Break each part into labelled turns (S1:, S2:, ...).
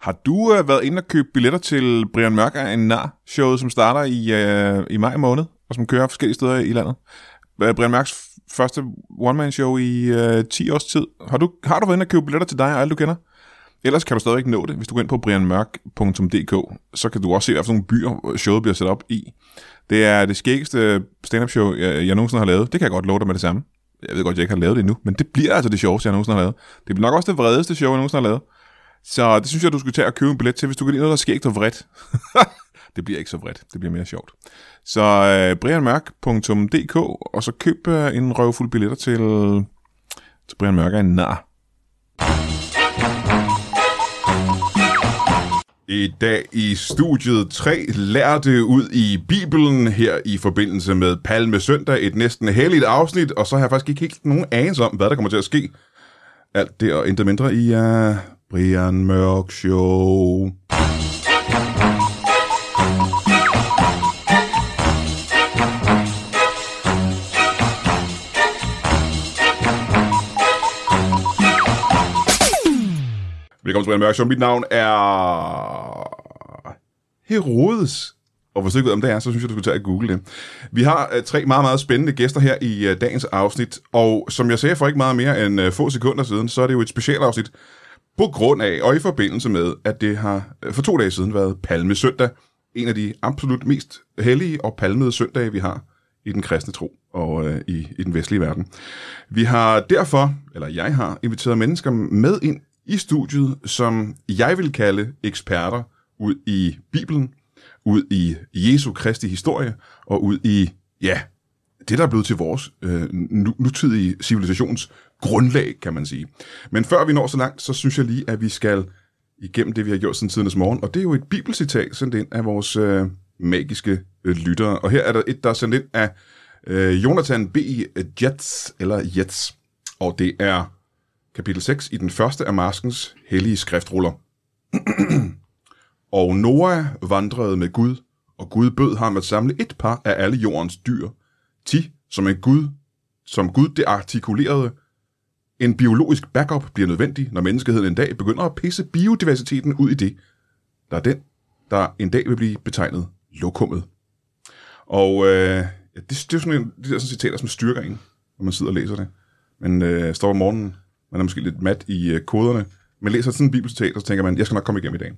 S1: Har du øh, været inde og købe billetter til Brian Mørk er en nar showet som starter i, øh, i maj måned, og som kører forskellige steder i landet? Øh, Brian Mørks f- første one-man-show i øh, 10 års tid. Har du, har du været inde og købe billetter til dig og alle, du kender? Ellers kan du stadigvæk nå det, hvis du går ind på brianmørk.dk, så kan du også se, hvad for nogle byer øh, showet bliver sat op i. Det er det skæggeste stand-up show, jeg, jeg nogensinde har lavet. Det kan jeg godt love dig med det samme. Jeg ved godt, jeg ikke har lavet det endnu, men det bliver altså det sjoveste, jeg nogensinde har lavet. Det bliver nok også det vredeste show, jeg nogensinde har lavet. Så det synes jeg, du skulle tage og købe en billet til, hvis du kan lide noget, der er skægt og vredt. det bliver ikke så vredt, det bliver mere sjovt. Så øh, brianmørk.dk, og så køb øh, en røvfuld billetter til, til Brian Mørk er en nar. I dag i studiet 3 lærte ud i Bibelen her i forbindelse med Palme Søndag, et næsten helligt afsnit, og så har jeg faktisk ikke helt nogen anelse om, hvad der kommer til at ske. Alt det og intet mindre i uh, Brian Mørk Show. Velkommen til Brian Mørk Show. Mit navn er Herodes. Og hvis du ikke ved, om det er, så synes jeg, du skulle tage og google det. Vi har øh, tre meget, meget spændende gæster her i øh, dagens afsnit. Og som jeg sagde for ikke meget mere end øh, få sekunder siden, så er det jo et specialafsnit på grund af og i forbindelse med, at det har øh, for to dage siden været Palme Søndag. En af de absolut mest hellige og palmede søndage, vi har i den kristne tro og øh, i, i den vestlige verden. Vi har derfor, eller jeg har, inviteret mennesker med ind i studiet, som jeg vil kalde eksperter ud i Bibelen, ud i Jesu Kristi historie og ud i, ja, det der er blevet til vores øh, nu, nutidige civilisations grundlag, kan man sige. Men før vi når så langt, så synes jeg lige, at vi skal igennem det, vi har gjort siden tidernes morgen. Og det er jo et bibelcitat sendt ind af vores øh, magiske øh, lyttere. Og her er der et, der er sendt ind af øh, Jonathan B. Jets, eller Jets. Og det er kapitel 6 i den første af Marskens hellige skriftruller. og Noah vandrede med Gud, og Gud bød ham at samle et par af alle jordens dyr. Ti, som en Gud, som Gud det artikulerede, en biologisk backup bliver nødvendig, når menneskeheden en dag begynder at pisse biodiversiteten ud i det, der er den, der en dag vil blive betegnet lokummet. Og øh, ja, det, det er jo sådan en, de der sådan citater, som styrker en, når man sidder og læser det. Man øh, står om morgenen, man er måske lidt mat i øh, koderne, men læser sådan en bibelcitat, og så tænker man, jeg skal nok komme igennem i dag.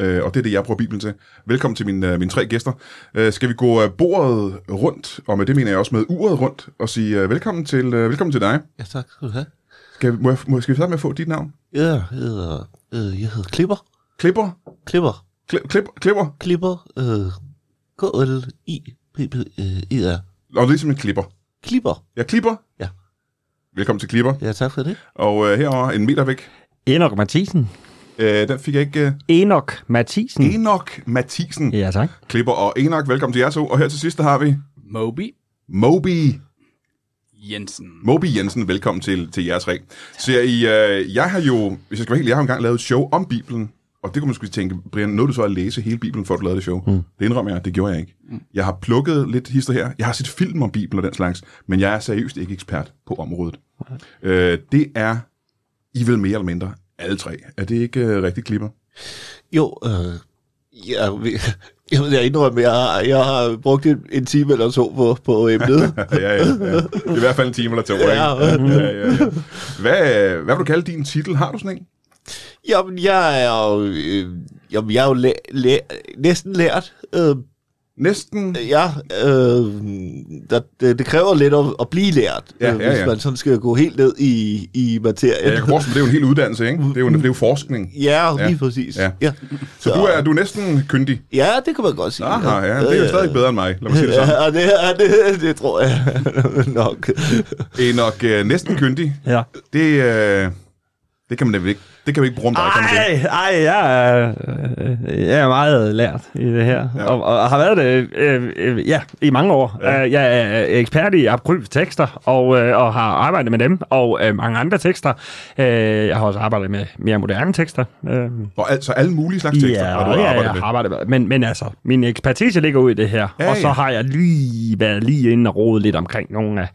S1: Øh, og det er det, jeg bruger Bibelen til. Velkommen til mine, øh, mine tre gæster. Øh, skal vi gå øh, bordet rundt, og med det mener jeg også med uret rundt, og sige øh, velkommen, til, øh, velkommen til dig.
S2: Ja, tak skal du have.
S1: Skal, må jeg, må, skal vi starte med at få dit navn?
S2: Jeg hedder, øh, jeg hedder Klipper.
S1: Klipper?
S2: Klipper.
S1: Kli- klip, klipper?
S2: Klipper. Øh, K-L-I-P-P-E-R.
S1: Og ligesom en klipper.
S2: E Klipper.
S1: Ja, klipper.
S2: Ja.
S1: Velkommen til klipper.
S2: Ja, tak for det.
S1: Og øh, herovre en meter væk.
S3: Enoch Mathisen.
S1: Øh, den fik jeg ikke. Øh,
S3: Enoch Mathisen.
S1: Enoch Mathisen.
S3: Mm. Ja, tak.
S1: Klipper og Enoch, velkommen til jer to. Og her til sidst, der har vi
S4: Moby
S1: Moby.
S4: Jensen.
S1: Moby Jensen, velkommen til, til jer tre. Ser I, øh, jeg har jo, hvis jeg skal være helt, jeg har engang lavet et show om Bibelen, og det kunne man skulle tænke, Brian, nåede du så at læse hele Bibelen, før du lavede det show? Mm. Det indrømmer jeg, det gjorde jeg ikke. Mm. Jeg har plukket lidt hister her, jeg har set film om Bibelen og den slags, men jeg er seriøst ikke ekspert på området. Øh, det er, I vil mere eller mindre, alle tre. Er det ikke øh, rigtig klipper?
S2: Jo, øh, jeg, ved- jeg, ved, jeg indrømme, jeg har, jeg har brugt en, en time eller to på, på emnet.
S1: Ja, ja, ja. Det er i hvert fald en time eller to,
S2: Ja. øh,
S1: ikke? Ja, ja, ja. Hvad, øh, hvad vil du kalde din titel? Har du sådan en?
S2: jamen, jeg er jo, øh, jamen, jeg er jo læ- læ- næsten lært. Øh,
S1: Næsten...
S2: ja, øh, der, det, det kræver lidt at, at blive lært,
S1: Ja,
S2: øh,
S1: ja,
S2: hvis
S1: ja.
S2: man sådan skal gå helt ned i, i materien.
S1: Ja, jeg kan forestille mig, det er jo en hel uddannelse, ikke? Det er jo, det er jo forskning.
S2: Ja,
S1: Ja.
S2: lige ja. præcis.
S1: Ja.
S2: Ja. Ja.
S1: Så du er, du er næsten kyndig.
S2: ja, det kan man godt sige.
S1: Aha, ja, det er jo stadig bedre end mig, lad mig sige det sådan.
S2: Ja, det, ja, det, det tror jeg nok.
S1: Enoch, øh, næsten kyndig,
S3: Ja.
S1: det, øh, det kan man da vel ikke, det kan vi ikke bruge om dig, kan man det?
S3: Ej, ej, jeg er, øh, jeg er meget lært i det her,
S1: Ja.
S3: ja. og, og har været det øh, øh, ja, i mange år.
S1: Ja.
S3: Ja. Jeg er øh, ekspert i akryltekster, og, øh, og har arbejdet med dem, og øh, mange andre tekster. Øh, jeg har også arbejdet med mere moderne tekster. Øh,
S1: Og al, så alle mulige slags tekster har du arbejdet
S3: jeg
S1: med.
S3: har arbejdet med. Men, men altså, min ekspertise ligger ud i det her.
S1: Ja,
S3: Ja, og så
S1: ja.
S3: ja. har jeg lige været lige inde og rodet lidt omkring nogle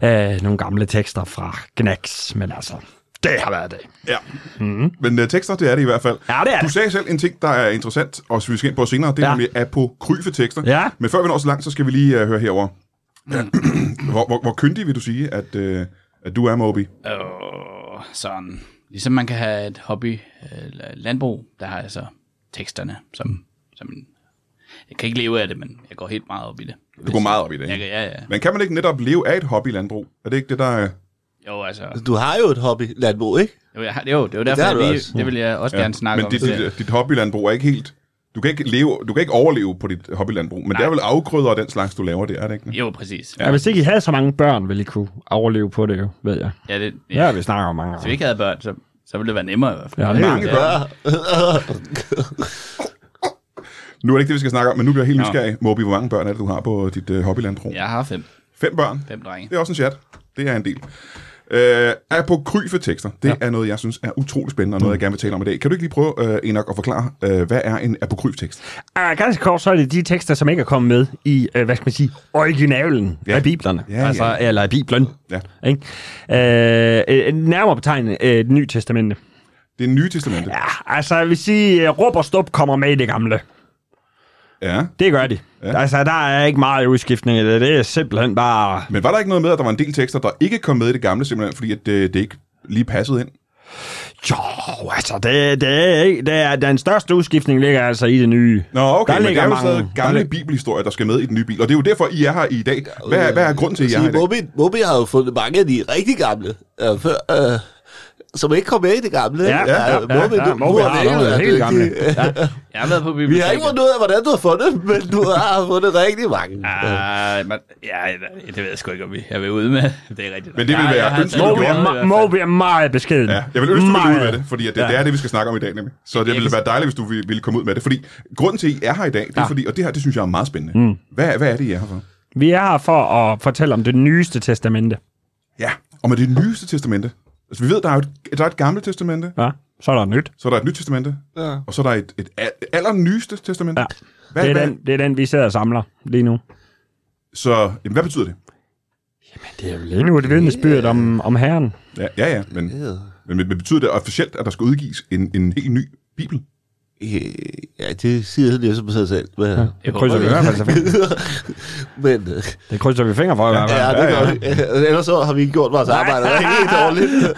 S3: af øh, nogle gamle tekster fra Gnax. Men altså, Det har været det.
S1: Ja. Mm-hmm. Men uh, tekster, det er det i hvert fald.
S3: Ja, det er
S1: Du
S3: det.
S1: sagde selv en ting, der er interessant, og som vi skal ind på senere, det er
S3: Ja.
S1: nemlig apokryfe tekster.
S3: Ja. Mm.
S1: Men før vi når så langt, så skal vi lige uh, høre herover. hvor, hvor, hvor kyndig vil du sige, at, uh, at du er, Moby?
S4: Og sådan. Ligesom man kan have et hobby øh, landbrug, der har jeg så teksterne som, som en, jeg kan ikke leve af det, men jeg går helt meget op i det.
S1: Du går meget op i det.
S4: Jeg, kan-
S1: ikke?
S4: ja, ja.
S1: Men kan man ikke netop leve af et hobbylandbrug? Er det ikke det, der er...
S4: Jo, altså.
S2: Du har jo et hobby, landbrug, ikke?
S4: Jo, jeg, har- jo det er jo derfor,
S2: har
S4: det,
S2: du
S4: jeg, lige,
S2: også.
S4: det vil jeg også gerne snakke
S1: Men
S4: om.
S1: dit,
S4: så-
S1: dit, dit hobbylandbrug er ikke helt... Du kan ikke, leve, du kan ikke overleve på dit hobbylandbrug, men Nej. det er vel afgrøder og den slags, du laver det, er det ikke?
S4: Jo, præcis.
S3: Ja, hvis ikke I havde så mange børn, ville I kunne overleve på det jo, ved jeg.
S4: Ja, det,
S3: Ja, vi snakker om mange
S4: Hvis vi ikke havde børn, så, så ville det være nemmere i hvert fald.
S3: Ja, det er
S1: Mange
S3: jo-
S1: børn. Nu er det ikke det, vi skal snakke om, men nu bliver jeg helt nysgerrig. Moby, hvor mange børn er det, du har på dit uh, hobbylandbrug?
S4: Jeg har fem,
S1: Fem børn.
S4: fem drenge.
S1: Det er også en chat. Det er en del. Øh, apokryfe tekster, det ja. Mm. er noget, jeg synes er utrolig spændende, og noget, jeg gerne vil tale om i dag. Kan du ikke lige prøve, øh, Enoch, at forklare, øh, hvad er en apokryf tekst?
S3: Ah, ganske kort, så er det de tekster, som ikke er kommet med i, øh, hvad skal man sige, originalen
S1: Ja.
S3: ja. af biblerne.
S1: Ja,
S3: altså,
S1: ja.
S3: Eller i Bibelen.
S1: Ja.
S3: Ikke? Øh, øh, nærmere betegnet øh, det nye testamente.
S1: Det er nye testamente. Ja.
S3: Ja, altså, jeg vil sige, øh, råb og stup kommer med i det gamle.
S1: ja.
S3: Det gør de.
S1: Ja.
S3: Ja. Altså, der er ikke meget udskiftning i det. Det er simpelthen bare...
S1: Men var der ikke noget med, at der var en del tekster, der ikke kom med i det gamle, simpelthen fordi at øh, det, det ikke lige passede ind?
S3: Jo, altså, det, det, er, ikke- det er, den største udskiftning ligger altså i det nye.
S1: Nå, okay,
S3: Der
S1: men det
S3: ligger
S1: er jo
S3: mange-
S1: stadig
S3: der
S1: gamle
S3: lig-
S1: bibelhistorier, der skal med i den nye bil, og det er jo derfor, I er her i dag. Hvad er, hvad er grunden til, at I er her i
S2: Sige,
S1: dag?
S2: Moby, Moby har jo fundet mange af de rigtig gamle, øh, før, øh, som ikke kom med i det gamle.
S3: Ja,
S2: ikke?
S3: ja, ja,
S2: Moby,
S3: ja,
S2: du,
S3: Moby
S2: du har
S3: har
S2: virkelig
S3: noget
S2: været
S3: helt
S2: dygtig.
S4: Jeg har været på biblioteket.
S2: Vi har ikke fundet ud af, hvordan du har fundet dem, men du har fundet rigtig mange.
S4: Ah, man, ja, det ved jeg sgu ikke, om vi jeg vil ud med. Det er rigtigt.
S1: Men det vil
S4: Nej,
S1: være
S4: jeg har
S1: ønskeligt,
S4: taget
S1: du
S3: Moby
S1: gjorde
S4: noget i hvert
S3: er,
S4: fald.
S3: Moby er meget beskeden.
S1: Ja, jeg vil ønske, at du ville ud
S3: Meget.
S1: med det, fordi at det, ja. det er det, vi skal snakke om i dag nemlig. Så det ville være dejligt, hvis du ville ville komme ud med det. Fordi grunden til, at I er her i dag, det er ja. fordi, og det her, det synes jeg er meget spændende. Mm. Hvad, hvad er det, I er her for?
S3: Vi er her for at fortælle om det nyeste testamente.
S1: Ja, og med det nyeste testamente. Altså, vi ved, der er, jo et, der er et gammelt testamente,
S3: Ja, så er der nyt.
S1: så er der et nyt testamente, ja. og så er der et, et al- allernyeste testamente.
S3: Ja.
S1: Hvad,
S3: det, er
S1: hvad,
S3: den, det er den, vi sidder og samler lige nu.
S1: Så, jamen, hvad betyder det?
S3: Det er jo lige nu et vidnesbyrd om, om herren.
S1: Ja, ja, ja men, men, men betyder det officielt, at der skal udgives en, en helt ny bibel?
S2: Øh, Ja, det siger han jo som sig selv. Men, ja.
S4: Jeg
S3: Det krydser vi i
S4: håber
S3: hvert fald så fingre.
S2: men øh,
S3: Det krydser vi fingre for i hvert fald.
S2: ja, det gør vi. Øh, Ellers så har vi ikke gjort vores arbejde rigtig dårligt.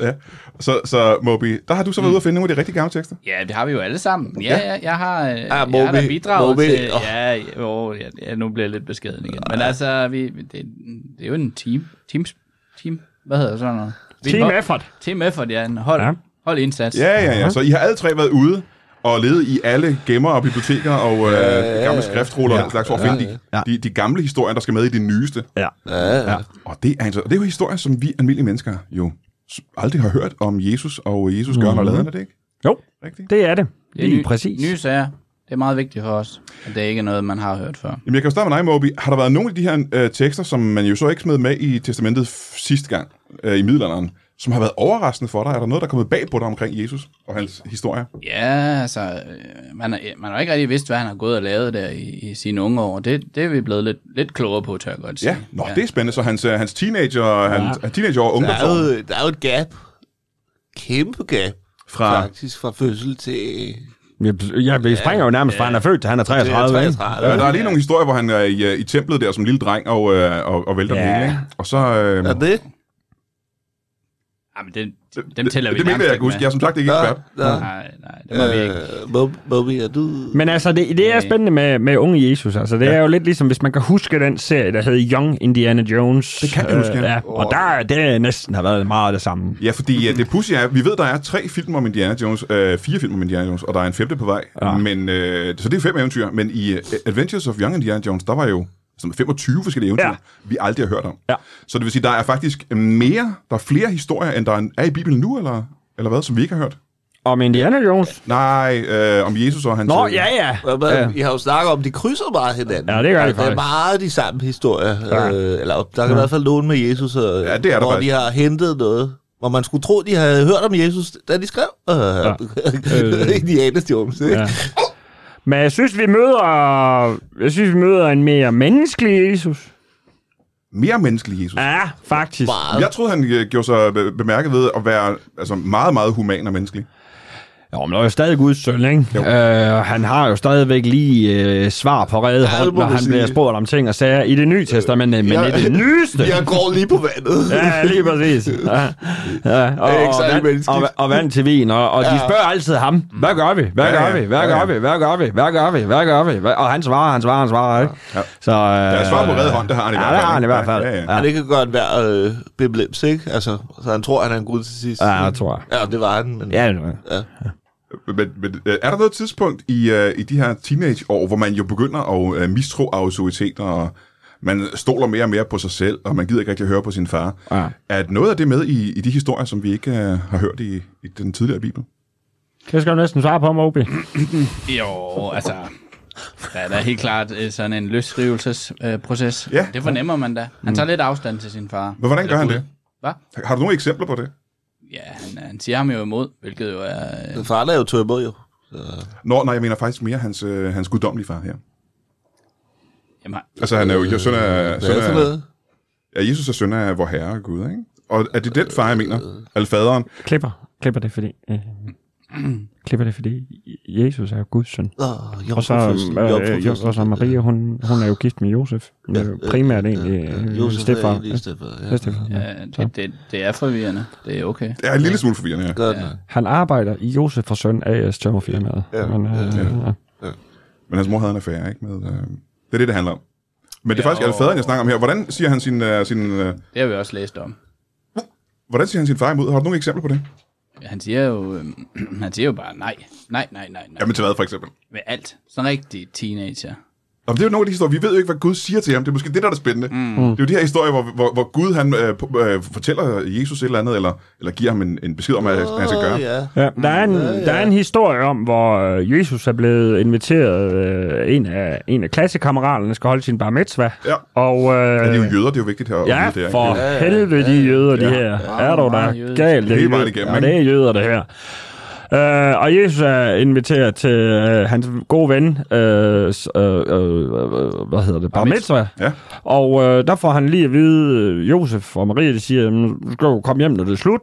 S1: Ja. Så, så Moby, der har du så været ude og finde nogle af de rigtig gamle tekster?
S4: Ja, det har vi jo alle sammen. Ja, ja. Jeg, jeg har, øh,
S2: Ah,
S4: jeg har da
S2: Moby.
S4: bidraget
S2: Moby.
S4: til...
S2: Åh.
S4: Ja, jo, ja, ja, nu bliver jeg lidt beskeden igen. Men altså, vi, det, det er jo en team. Teams, team, hvad hedder sådan noget? Vi er et
S3: Team
S4: hold-
S3: effort.
S4: Team effort, ja. En hold,
S3: Ja.
S4: ja. hold indsats.
S1: Ja, ja, ja. Så I har alle tre været ude og ledet i alle gemmer og biblioteker og øh, gamle skriftruller og den slags for at finde de, de, de gamle historier, der skal med i det nyeste.
S3: Ja.
S2: Ja,
S1: Og det er, altså, det er jo historier, som vi almindelige mennesker jo s- aldrig har hørt om Jesus og Jesus gør mm-hmm. og laden, er det ikke?
S3: Jo,
S1: Rigtigt?
S3: det er det.
S4: Det er
S3: Lige
S4: ny-
S3: præcis.
S4: Nye sager. Det er meget vigtigt for os, at det ikke er noget, man har hørt før.
S1: Jamen, jeg kan jo starte med dig, Moby. Har der været nogle af de her øh, tekster, som man jo så ikke smed med i testamentet f- sidste gang øh, i middelalderen, som har været overraskende for dig? Er der noget, der er kommet bag på dig omkring Jesus og hans historier?
S4: Ja, altså, øh, man har, man har ikke rigtig vidst, hvad han har gået og lavet der i, i sine unge år. Det, det er vi blevet lidt, lidt klogere på, tør jeg godt sige.
S1: Ja, nå, ja. det er spændende. Så hans, øh, hans teenager, ja. hans, hans teenager og
S2: der, er
S1: ungdomsår.
S2: jo, der er jo et gap. Kæmpe gap.
S1: Fra-
S2: Faktisk fra fødsel til
S3: Jeg, jeg, jeg springer jo nærmest fra, han er født til han er 33. ikke?
S2: 33.
S1: Ja, der er lige nogle historier, hvor han er i, øh, i templet der som lille dreng og, øh, og, og vælter
S3: Ja.
S1: ja. hele, ikke? Og så... Øh,
S2: Er det?
S4: Jamen, det, dem tæller
S1: det,
S4: vi
S1: det mener jeg,
S4: nærmest
S1: jeg
S4: ikke
S1: kan huske. Jeg
S4: med.
S1: er som sagt ikke
S2: Nå,
S1: ekspert.
S2: nå.
S4: Nej, nej, det må vi
S2: Øh,
S4: ikke.
S2: Mo- Moby, er du...
S3: Men altså, det, det er spændende med, med unge Jesus. Altså, det ja. er jo lidt ligesom, hvis man kan huske den serie, der hed Young Indiana Jones. Det
S1: kan jeg huske, ja.
S3: ja. Og der det næsten har været meget af det samme.
S1: Ja, fordi øh, det pussy er, vi ved, der er tre film om Indiana Jones, øh, fire film om Indiana Jones, og der er en femte på vej. Ja. Men, øh, så det er fem eventyr, men i øh, Adventures of Young Indiana Jones, der var jo sådan 25 forskellige eventyr, ja.
S3: Ja.
S1: vi aldrig har hørt om.
S3: Ja.
S1: Så det vil sige, der er faktisk mere, der er flere historier, end der er i Bibelen nu, eller, eller hvad, som vi ikke har hørt?
S3: Om Indiana Jones?
S1: Nej, øh, om Jesus og hans...
S3: Nå,
S1: øh,
S3: ja, ja.
S2: Hvad med- I har jo snakket om, de krydser meget hinanden.
S3: Ja, det gør
S2: Der
S3: de
S2: er
S3: faktisk.
S2: meget de samme historier.
S3: Ja.
S2: Øh, eller der kan i hvert fald nogen med Jesus, og,
S1: Ja, det er der
S2: hvor
S1: faktisk.
S2: de har hentet noget. Hvor man skulle tro, de havde hørt om Jesus, da de skrev. Øh, ja.
S3: Øh.
S2: Indianas Jones, ikke?
S3: Ja. Men jeg synes, vi møder, jeg synes, vi møder en mere menneskelig Jesus.
S1: mere menneskelig Jesus.
S3: Ja, faktisk.
S2: Meget.
S1: Jeg troede, han øh, gjorde sig be- bemærket ved at være altså, meget, meget human og menneskelig.
S3: Jo, men der er jo stadig Guds søn, ikke? Øh, han har jo stadigvæk lige øh, svar på redde
S2: det
S3: hånd,
S2: må
S3: når
S2: man
S3: han
S2: sige.
S3: bliver spurgt om ting og sager i det
S1: Øh,
S3: nye testamente, men
S2: jeg-
S3: i det nyeste...
S2: Jeg går lige på vandet.
S3: Ja, lige præcis. Ja. Ja. Og,
S2: Det er ikke
S3: og,
S2: særlig
S3: vand,
S2: menneskeligt.
S3: og, og vand til vin, og, og ja. de spørger altid ham, hvad gør vi? Hvad
S1: Ja,
S3: gør
S1: ja.
S3: vi? Hvad
S1: Ja, ja.
S3: gør vi? Hvad gør vi? Hvad gør vi? Hvad gør vi? Hvad- Og han svarer, han svarer, han svarer, ikke?
S1: Ja.
S3: Så, øh,
S1: Der er svar på redde hånd, det har han i
S3: ja,
S1: hvert
S3: det
S1: fald.
S3: har han i
S1: ikke?
S3: hvert fald.
S1: Ja, ja, ja.
S2: Ja. Det kan godt være øh, biblems, ikke? Altså, så han tror, han er en gud til sidst.
S3: Ja, det tror jeg.
S2: Ja, det var han. Men...
S3: Ja, det er-
S2: ja.
S1: Men, men øh, er der noget tidspunkt i, øh, i de her teenageår, hvor man jo begynder at øh, mistro autoriteter, og man stoler mere og mere på sig selv, og man gider ikke rigtig høre på sin far?
S3: Ja.
S1: Er noget af det med i, i de historier, som vi ikke øh, har hørt i, i den tidligere Bibel?
S3: det skal du næsten svare på, Moby.
S4: Jo, altså... Der er da helt klart øh, sådan en løsrivelsesproces. Øh, proces.
S1: Ja.
S4: Det fornemmer man da. Han tager lidt afstand til sin far.
S1: Men hvordan gør han
S4: Eller
S1: det?
S4: Gud. Hvad?
S1: Har du nogle eksempler på det?
S4: Ja, han, han siger ham jo imod, hvilket jo er... Øh,
S2: Faren er jo tog imod, jo.
S1: Nå, nej, jeg mener faktisk mere hans, øh, hans guddommelige far her.
S4: jamen,
S1: Altså, han er jo søn af,
S2: Øh, Hvad er
S1: søn
S2: det for
S1: af,
S2: noget?
S1: ja, Jesus er søn af vor herre Gud, ikke? Og er det den far, jeg
S2: Øh.
S1: mener? Al faderen?
S3: Klipper. Klipper det, fordi... Øh, klipper det, fordi Jesus er jo Guds søn.
S2: Nå,
S3: Og så,
S2: jomfrufødsel,
S3: øh, øh,
S2: jomfrufødsel.
S3: jo- og så Maria, hun, hun er jo gift med Josef. Ja, primært egentlig øh,
S2: Josef er
S3: stedfar.
S2: egentlig
S3: Ja,
S2: stedfar, ja.
S3: bedstefar, ja.
S4: øh, det, det, det er forvirrende. Det er okay.
S1: Det er en lille smule forvirrende her.
S2: Godt nok.
S3: Han arbejder i Josef og Søn AS tømmerfirmaet.
S2: Ja,
S3: Men, øh, ja.
S1: Men hans mor havde en affære, ikke? Med, øh, det er det, det handler om. Men det er faktisk faderen, jeg snakker om her. Hvordan siger han sin, øh, sin, øh,
S4: Det har vi også læst om.
S1: hvordan siger han sin far imod? Har du nogle eksempler på det?
S4: Han siger jo, øh, han siger jo bare nej. Nej, nej, nej, nej.
S1: Jamen til hvad, for eksempel?
S4: Med alt. Sådan en rigtig teenager.
S1: Jamen, det er jo nogle af de historier. Vi ved jo ikke, hvad Gud siger til ham. Det er måske det, der er det spændende. Mm. Det er jo de her historier, hvor, hvor, hvor Gud han, øh, på- øh, fortæller Jesus et eller andet, eller, eller giver ham en, en besked om, hvad han skal gøre.
S2: Åh, ja.
S3: Ja, der, er en, der er en historie om, hvor øh, Jesus er blevet inviteret, øh, en, af, en af klassekammeraterne skal holde sin bar mitzvah.
S1: Ja.
S3: Og, øh,
S1: Men det er jo jøder, det er jo vigtigt her. at
S3: Ja,
S1: vide det, ikke?
S3: for
S2: Ja, ja,
S3: helvede de jøder, de
S1: Ja.
S3: her. Er du
S4: meget
S3: der
S4: jødisk.
S3: galt?
S1: Hele
S3: er
S1: vejen
S3: jød-
S1: igennem,
S3: Ja,
S1: ikke?
S3: det er jøder, det her. Uh, og Jesus er inviteret til uh, hans gode ven, uh, uh, uh, hvad hedder det, Bar Mitzvah.
S1: Ja.
S3: Og uh, der får han lige at vide, øh, Josef og Maria, de siger, "Mm, du skal jo komme hjem, når det er slut.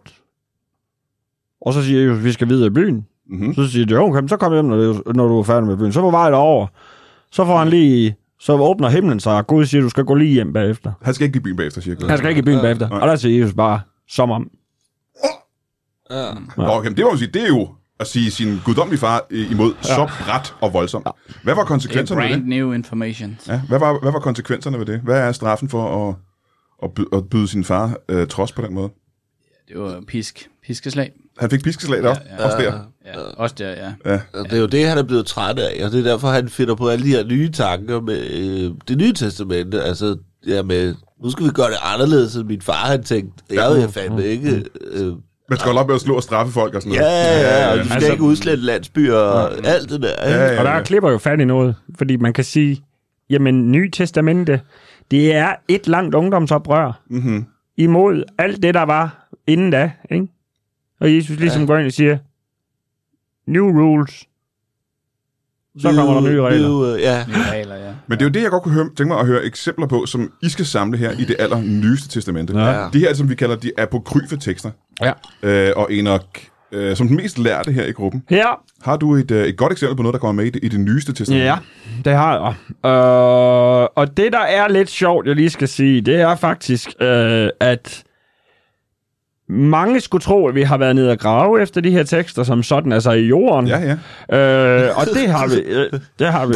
S3: Og så siger Jesus, vi skal videre i byen.
S1: Mhm.
S3: Så siger de, jo, okay, men så kom hjem, når, det, når du er færdig med byen. Så på vej derover, så får han lige, så åbner himlen sig, og Gud siger, du skal gå lige hjem bagefter.
S1: Han skal ikke i byen bagefter, siger Gud.
S3: Han skal ikke i byen bagefter.
S1: Nej.
S3: Og der siger Jesus bare, som om.
S2: Ja.
S1: Nå, okay, men det må man sige, det er jo at sige sin guddommelige far øh, imod ja. så bræt og voldsomt. Hvad var
S4: Det er
S1: konsekvenserne ved
S4: brand
S1: det?
S4: new information.
S1: Ja, hvad, var, hvad var konsekvenserne ved det? Hvad er straffen for at, at, byde, at byde sin far øh, trods på den måde?
S4: Det var pisk. Piskeslag.
S1: Han fik piskeslag der, ja, ja. også der.
S4: Ja, også der, ja.
S2: Og Det er jo det, han er blevet træt af, og det er derfor, han finder på alle de her nye tanker med øh, det nye testamente. Altså, ja, med, nu skal vi gøre det anderledes, end min far han tænkte. Det er jo fandme ikke...
S3: Mm,
S2: Øh,
S1: Man skal holde op med at slå og straffe folk og sådan
S2: ja,
S1: noget.
S2: ja, ja, og du skal
S3: Altså-
S2: altså, ikke udslette landsbyer og alt det der. Ikke?
S1: Ja,
S3: Og der klipper jo fat i noget, fordi man kan sige, jamen, Nye Testamente, det er et langt ungdomsoprør
S1: Mm-hmm.
S3: imod alt det, der var inden da, ikke? Og Jesus ligesom ja. går ind og siger, new rules. Så kommer der nye regler.
S2: New, øh, ja.
S4: Nye regler, ja.
S1: Men det er jo det, jeg godt kunne høre, tænke mig at høre eksempler på, som I skal samle her i det allernyeste testamente. Ja. Det her, som vi kalder de apokryfe tekster.
S3: Ja.
S1: Øh, og Enoch, øh, som den mest lærte her i gruppen,
S3: Ja,
S1: har du et, øh, et godt eksempel på noget, der kommer med i det, i det nyeste testamente?
S3: Ja, det har jeg. Øh, og det, der er lidt sjovt, jeg lige skal sige, det er faktisk, øh, at mange skulle tro, at vi har været nede og grave efter de her tekster, som sådan, altså i jorden.
S1: Ja, ja.
S3: Øh, og det har vi, øh, det har vi,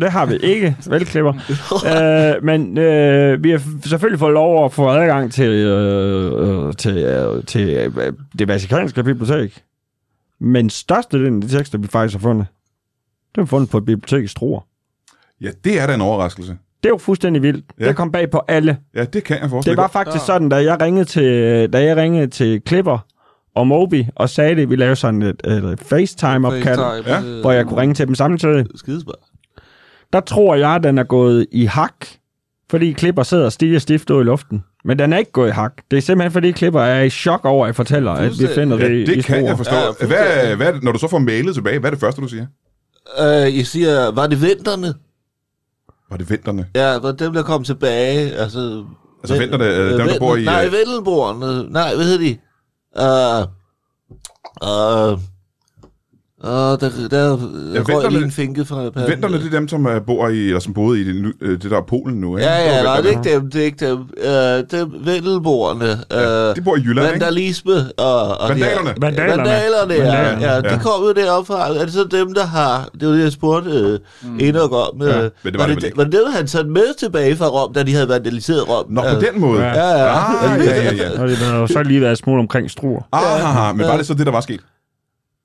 S3: det har vi ikke, velklipper. øh, men øh, vi har f- selvfølgelig fået lov at få adgang til, øh, øh, til, øh, til øh, det vatikanske bibliotek. Men størstedelen af de tekster, vi faktisk har fundet, det er fundet på et bibliotek i Struer.
S1: Ja, det er da en overraskelse.
S3: Det er jo fuldstændig vildt.
S1: Ja.
S3: Ja. Det kom bag på alle.
S1: Ja, det kan jeg forestille
S3: Det var faktisk sådan, da jeg ringede til, da jeg ringede til Klipper og Moby og sagde det, vi lavede sådan et, et FaceTime-opkald,
S1: Ja.
S2: øh,
S3: hvor jeg kunne ringe til dem samtidig.
S2: Skidesmart.
S3: der tror jeg, den er gået i hak, fordi klipper sidder stige stift ud i luften. Men den er ikke gået i hak. Det er simpelthen, fordi klipper er i chok over, at jeg fortæller, at vi
S2: Fuldstændig.
S3: finder
S1: Ja,
S3: det, i- i
S1: det kan jeg
S3: spor.
S1: forstå.
S2: Ja,
S1: Ja, hvad, er- hvad, er det- når du så får mailet tilbage, hvad er det første, du siger?
S2: Øh, jeg siger, var det vinterne?
S1: Var det venterne?
S2: Ja, hvor dem, der kom tilbage, altså...
S1: Altså venterne, øh, dem, der
S2: vent-
S1: bor i,
S2: Nej,
S1: øh,
S2: vendelborgerne. Nej, hvad hedder de? Øh... Øh... Øh, der, der ja, røg
S1: venterne-
S2: lige en finke fra panden.
S1: Venterne, det er dem, som øh, bor i, eller som boede i det, nu- øh, det der er Polen nu, ikke?
S2: Ja, ja,
S1: var
S2: nej, det er
S1: venterne.
S2: ikke dem, det er ikke dem. Øh, dem vendelborgerne. Øh,
S1: De bor i Jylland, ikke?
S2: vandalisme og... og de her-
S1: Vandalerne.
S3: Vandalerne.
S2: Vandalerne, ja. ja.
S1: Vandalerne, ja.
S2: De kom jo deroppe Er det så dem, der har... Det var det, jeg spurgte øh, mm. Enoch om. Øh,
S1: Ja, men
S2: ja, var,
S1: det var
S2: det var,
S1: det vel
S2: det,
S1: ikke.
S2: var det dem, han satte med tilbage fra Rom, da de havde vandaliseret Rom?
S1: Nå, på
S2: Øh,
S1: den måde.
S3: Ja.
S2: Ja, ja.
S1: Ah, ja, ja, ja.
S3: Og det har så lige været smule omkring struer.
S1: Ah, men var det så det, der var sket?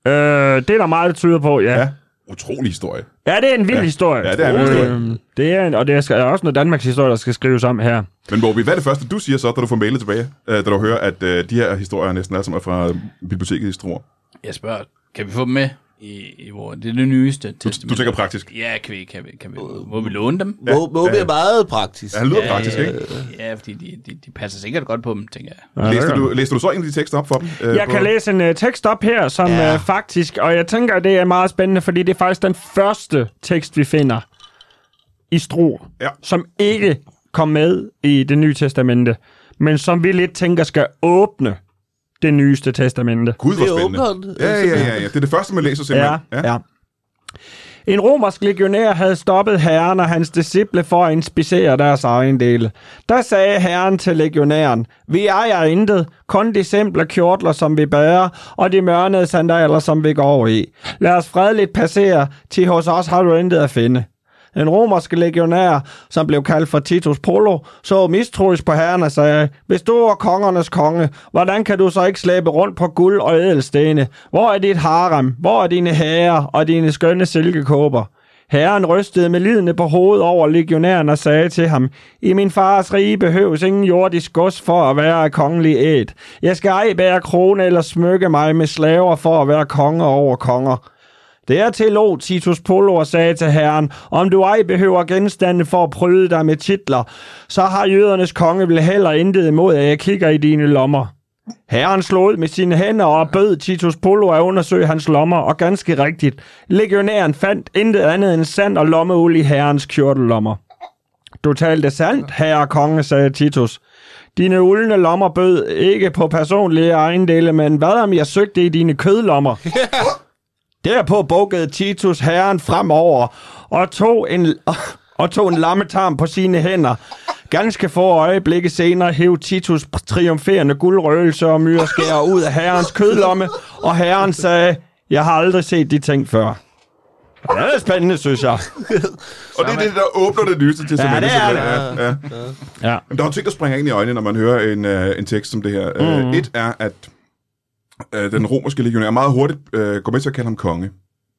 S3: Øh, det er der meget, der tyder på, ja.
S1: Ja.
S3: Ja,
S1: Utrolig historie.
S3: ja det er en vild
S1: Ja.
S3: historie.
S1: Ja, det er en vild historie.
S3: Øh, det er en, og det er, er også noget Danmarks historie, der skal skrives om her.
S1: Men Morbi, hvad er det første, du siger så, da du får mailet tilbage, øh, da du hører, at øh, de her historier næsten alle sammen er fra øh, biblioteket i Struer?
S4: Jeg spørger, kan vi få dem med i, i vores, det er det nyeste
S1: Du,
S4: testament?
S1: du tænker praktisk.
S4: Ja, kan vi, kan vi, kan vi, må vi låne dem?
S2: Må, må
S1: Ja,
S2: ja,
S1: ja.
S2: er meget praktisk.
S1: Ja, han lyder praktisk, ikke?
S4: ikke? Ja, fordi de, de, de passer sikkert godt på dem, tænker jeg.
S3: Ja, det
S1: Læste
S3: gør
S1: du, læste du så en af de tekster op for dem? øh,
S3: Jeg
S1: på-
S3: kan læse en uh, tekst op her, som
S2: Ja.
S3: ja. uh, faktisk, og jeg tænker, at det er meget spændende, fordi det er faktisk den første tekst, vi finder i Struer,
S1: Ja.
S3: som ikke kom med i det nye testamente, men som vi lidt tænker skal åbne det nyeste testamente.
S1: Gud, hvor
S2: Det er
S1: spændende.
S2: åbneren.
S1: Ja, ja, ja, ja. Det er det første, man læser simpelthen.
S3: ja. En romersk legionær havde stoppet herren og hans disciple for at inspicere deres egen dele. Der sagde herren til legionæren, vi ejer intet, kun de simple kjortler, som vi bærer, og de mørnede sandaler, som vi går over i. Lad os fredeligt passere, til hos os har du intet at finde. En romersk legionær, som blev kaldt for Titus Polo, så mistroisk på herren og sagde, Hvis du er kongernes konge, hvordan kan du så ikke slæbe rundt på guld og ædelstene? Hvor er dit harem? Hvor er dine herrer og dine skønne silkekåber? Herren rystede med lidende på hovedet over legionæren og sagde til ham, I min fars rige behøves ingen jordisk gods for at være af kongelig æt. Jeg skal ej bære krone eller smykke mig med slaver for at være konge over konger. Dertil lå Titus Polo og sagde til herren, om du ej behøver genstande for at pryde dig med titler, så har jødernes konge vel heller intet imod, at jeg kigger i dine lommer. Herren slog ud med sine hænder og bød Titus Polo at undersøge hans lommer, og ganske rigtigt, legionæren fandt intet andet end sand og lommeuld i herrens kjortellommer. Du talte sandt, herre konge, sagde Titus. Dine uldne lommer bød ikke på personlige ejendele, men hvad om jeg søgte i dine kødlommer? Derpå bukkede Titus herren fremover og tog en, og tog en lammetarm på sine hænder. Ganske få øjeblikke senere hev Titus triumferende guldrøgelse og myreskærer ud af herrens kødlomme, og herren sagde, jeg har aldrig set de ting før. Ja, Det er spændende, synes jeg.
S1: Og det er det, der åbner det nyeste testament.
S3: Ja, det er
S1: simpelthen. ligesom- Ja, ja.
S3: Ja.
S1: Jamen, der er jo ting, der springer ind i øjnene, når man hører en, øh, en tekst som det her. Mm. Øh, et er, at øh, den romerske legionær meget hurtigt øh, går med til at kalde ham konge.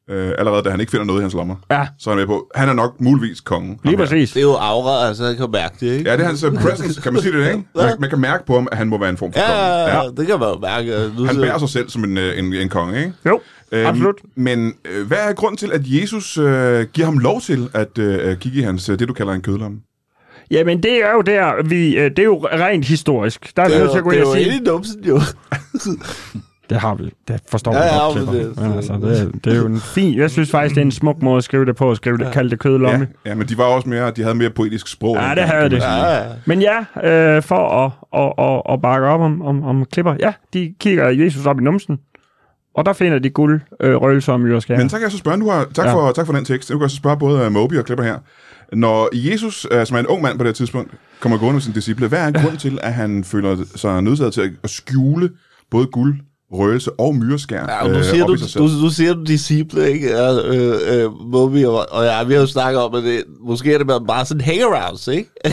S1: Øh, allerede da han ikke finder noget i hans lommer.
S3: Ja,
S1: Så er han med på, han er nok muligvis kongen. ham
S3: lige
S1: her.
S3: præcis.
S2: Det er jo aura, altså jeg kan mærke det, ikke?
S1: Ja, det er hans øh, presence, kan man sige det, ikke? Man, man kan mærke på ham, at han må være en form for konge.
S2: ja, ja, det kan man jo mærke. altså, Nu
S1: Han
S2: sidder-
S1: bærer sig selv som en, øh, en, en konge, ikke?
S3: Jo, absolut.
S1: Øhm,
S2: Øhm,
S1: Men øh, hvad er grunden til, at Jesus øh, giver ham lov til at øh, kigge i hans, øh, det du kalder en kødlomme?
S3: Jamen, det er jo der, vi, øh, det er jo rent historisk. Der er vi
S2: det er
S3: nødt til
S2: jo,
S3: at gå
S2: det
S3: ind
S2: er
S3: og
S2: jo
S3: sige,
S2: inde i numsen, jo.
S3: Det har vi. Det forstår
S2: Ja,
S3: vi
S2: ja,
S3: godt,
S2: men
S3: Klipper.
S2: det-
S3: Men altså, det, er- det er jo en fin... Jeg synes faktisk, det er en smuk måde at skrive det på, at skrive det, kalde det kødlomme.
S1: Ja, ja, men de var også mere, de havde mere poetisk sprog.
S3: Ja,
S1: dengang,
S3: det havde
S1: kan man
S3: det.
S1: sige.
S2: Ja, ja.
S3: Men ja, øh, for at, at, at, at bakke op om, om, om klipper, ja, de kigger Jesus op i numsen, og der finder de guld, øh, røgelser og myreskærer.
S1: Men så kan jeg så spørge, nu har, tak, ja.
S3: Ja.
S1: for, tak for den tekst. Nu kan jeg så spørge både øh, Moby og Klipper her. Når Jesus, øh, som er en ung mand på det her tidspunkt, kommer gående med sin disciple, hvad er grund til, at han føler sig nødsaget til at- at skjule både guld, røgelse og myreskær øh,
S2: Ja, og nu, siger
S1: op
S2: du,
S1: i sig selv?
S2: du, nu siger du disciple, ikke? Ja, øh, øh, hvor vi, og, og ja, vi har jo snakket om, at det, måske er det bare- bare sådan hangarounds, ikke?
S1: Ja.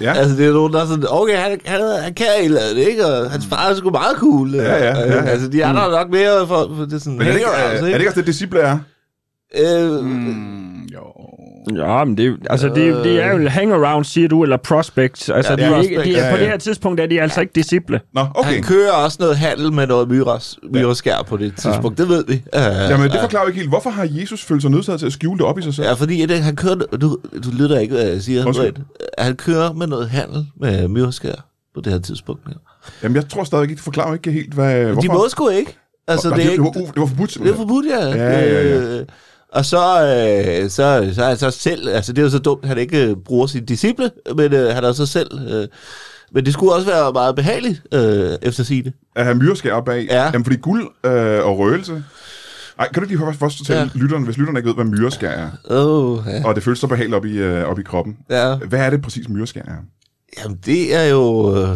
S2: ja. Altså, det er nogen, der er sådan, okay, han, han, han kan et eller andet, ikke? Og hans far er sgu meget cool. Ja,
S1: ja, ja, ja.
S2: Altså, de andre er nok mere for, for det er sådan
S1: Men er det, ikke, er,
S2: hangarounds,
S1: er det ikke
S2: ikke?
S1: også det, disciple er?
S2: Øh,
S4: Mm, jo.
S3: Ja, men det, er jo- altså, det, er- det er jo hangaround, siger du, eller prospects. Altså,
S2: Ja,
S3: ja, de er ikke,
S2: prospects.
S3: de er,
S1: Ja,
S3: på
S1: ja.
S3: det her tidspunkt er de altså ikke disciple.
S1: Nå, okay.
S2: Han kører også noget handel med noget myres, myreskær på det tidspunkt, det ved vi. Øh,
S1: Jamen, det forklarer jo ikke helt. Hvorfor har Jesus følt sig nødsaget til at skjule det op i sig selv?
S2: Ja, fordi at han kører... Du, du lytter ikke, hvad jeg siger.
S1: Undskyld.
S2: André. Han kører med noget handel med myreskær på det her tidspunkt. Ja.
S1: Jamen, jeg tror stadig ikke, det forklarer ikke helt, hvad...
S2: De
S1: hvorfor.
S2: må sgu ikke. Altså,
S1: Nej,
S2: det er
S1: det,
S2: ikke...
S1: var, u- det var forbudt.
S2: Det er forbudt, ja.
S1: Ja, ja, ja.
S2: Øh, Og så, øh, så, så er han så selv, altså det er jo så dumt, at han ikke øh, bruger sin disciple, men øh, han er så selv. Øh, men det skulle også være meget behageligt øh, efter sine.
S1: At have myrskær bag.
S2: Ja.
S1: Jamen, fordi guld øh, og røgelse... Ej, kan du ikke lige først, først fortælle ja.
S2: Ja.
S1: lytteren, hvis lytteren ikke ved, hvad myreskær er,
S2: Åh, oh, ja.
S1: og det føles så behageligt op i, øh, op i kroppen.
S2: ja.
S1: Hvad er det præcis, myreskær er?
S2: Jamen det er jo... Øh,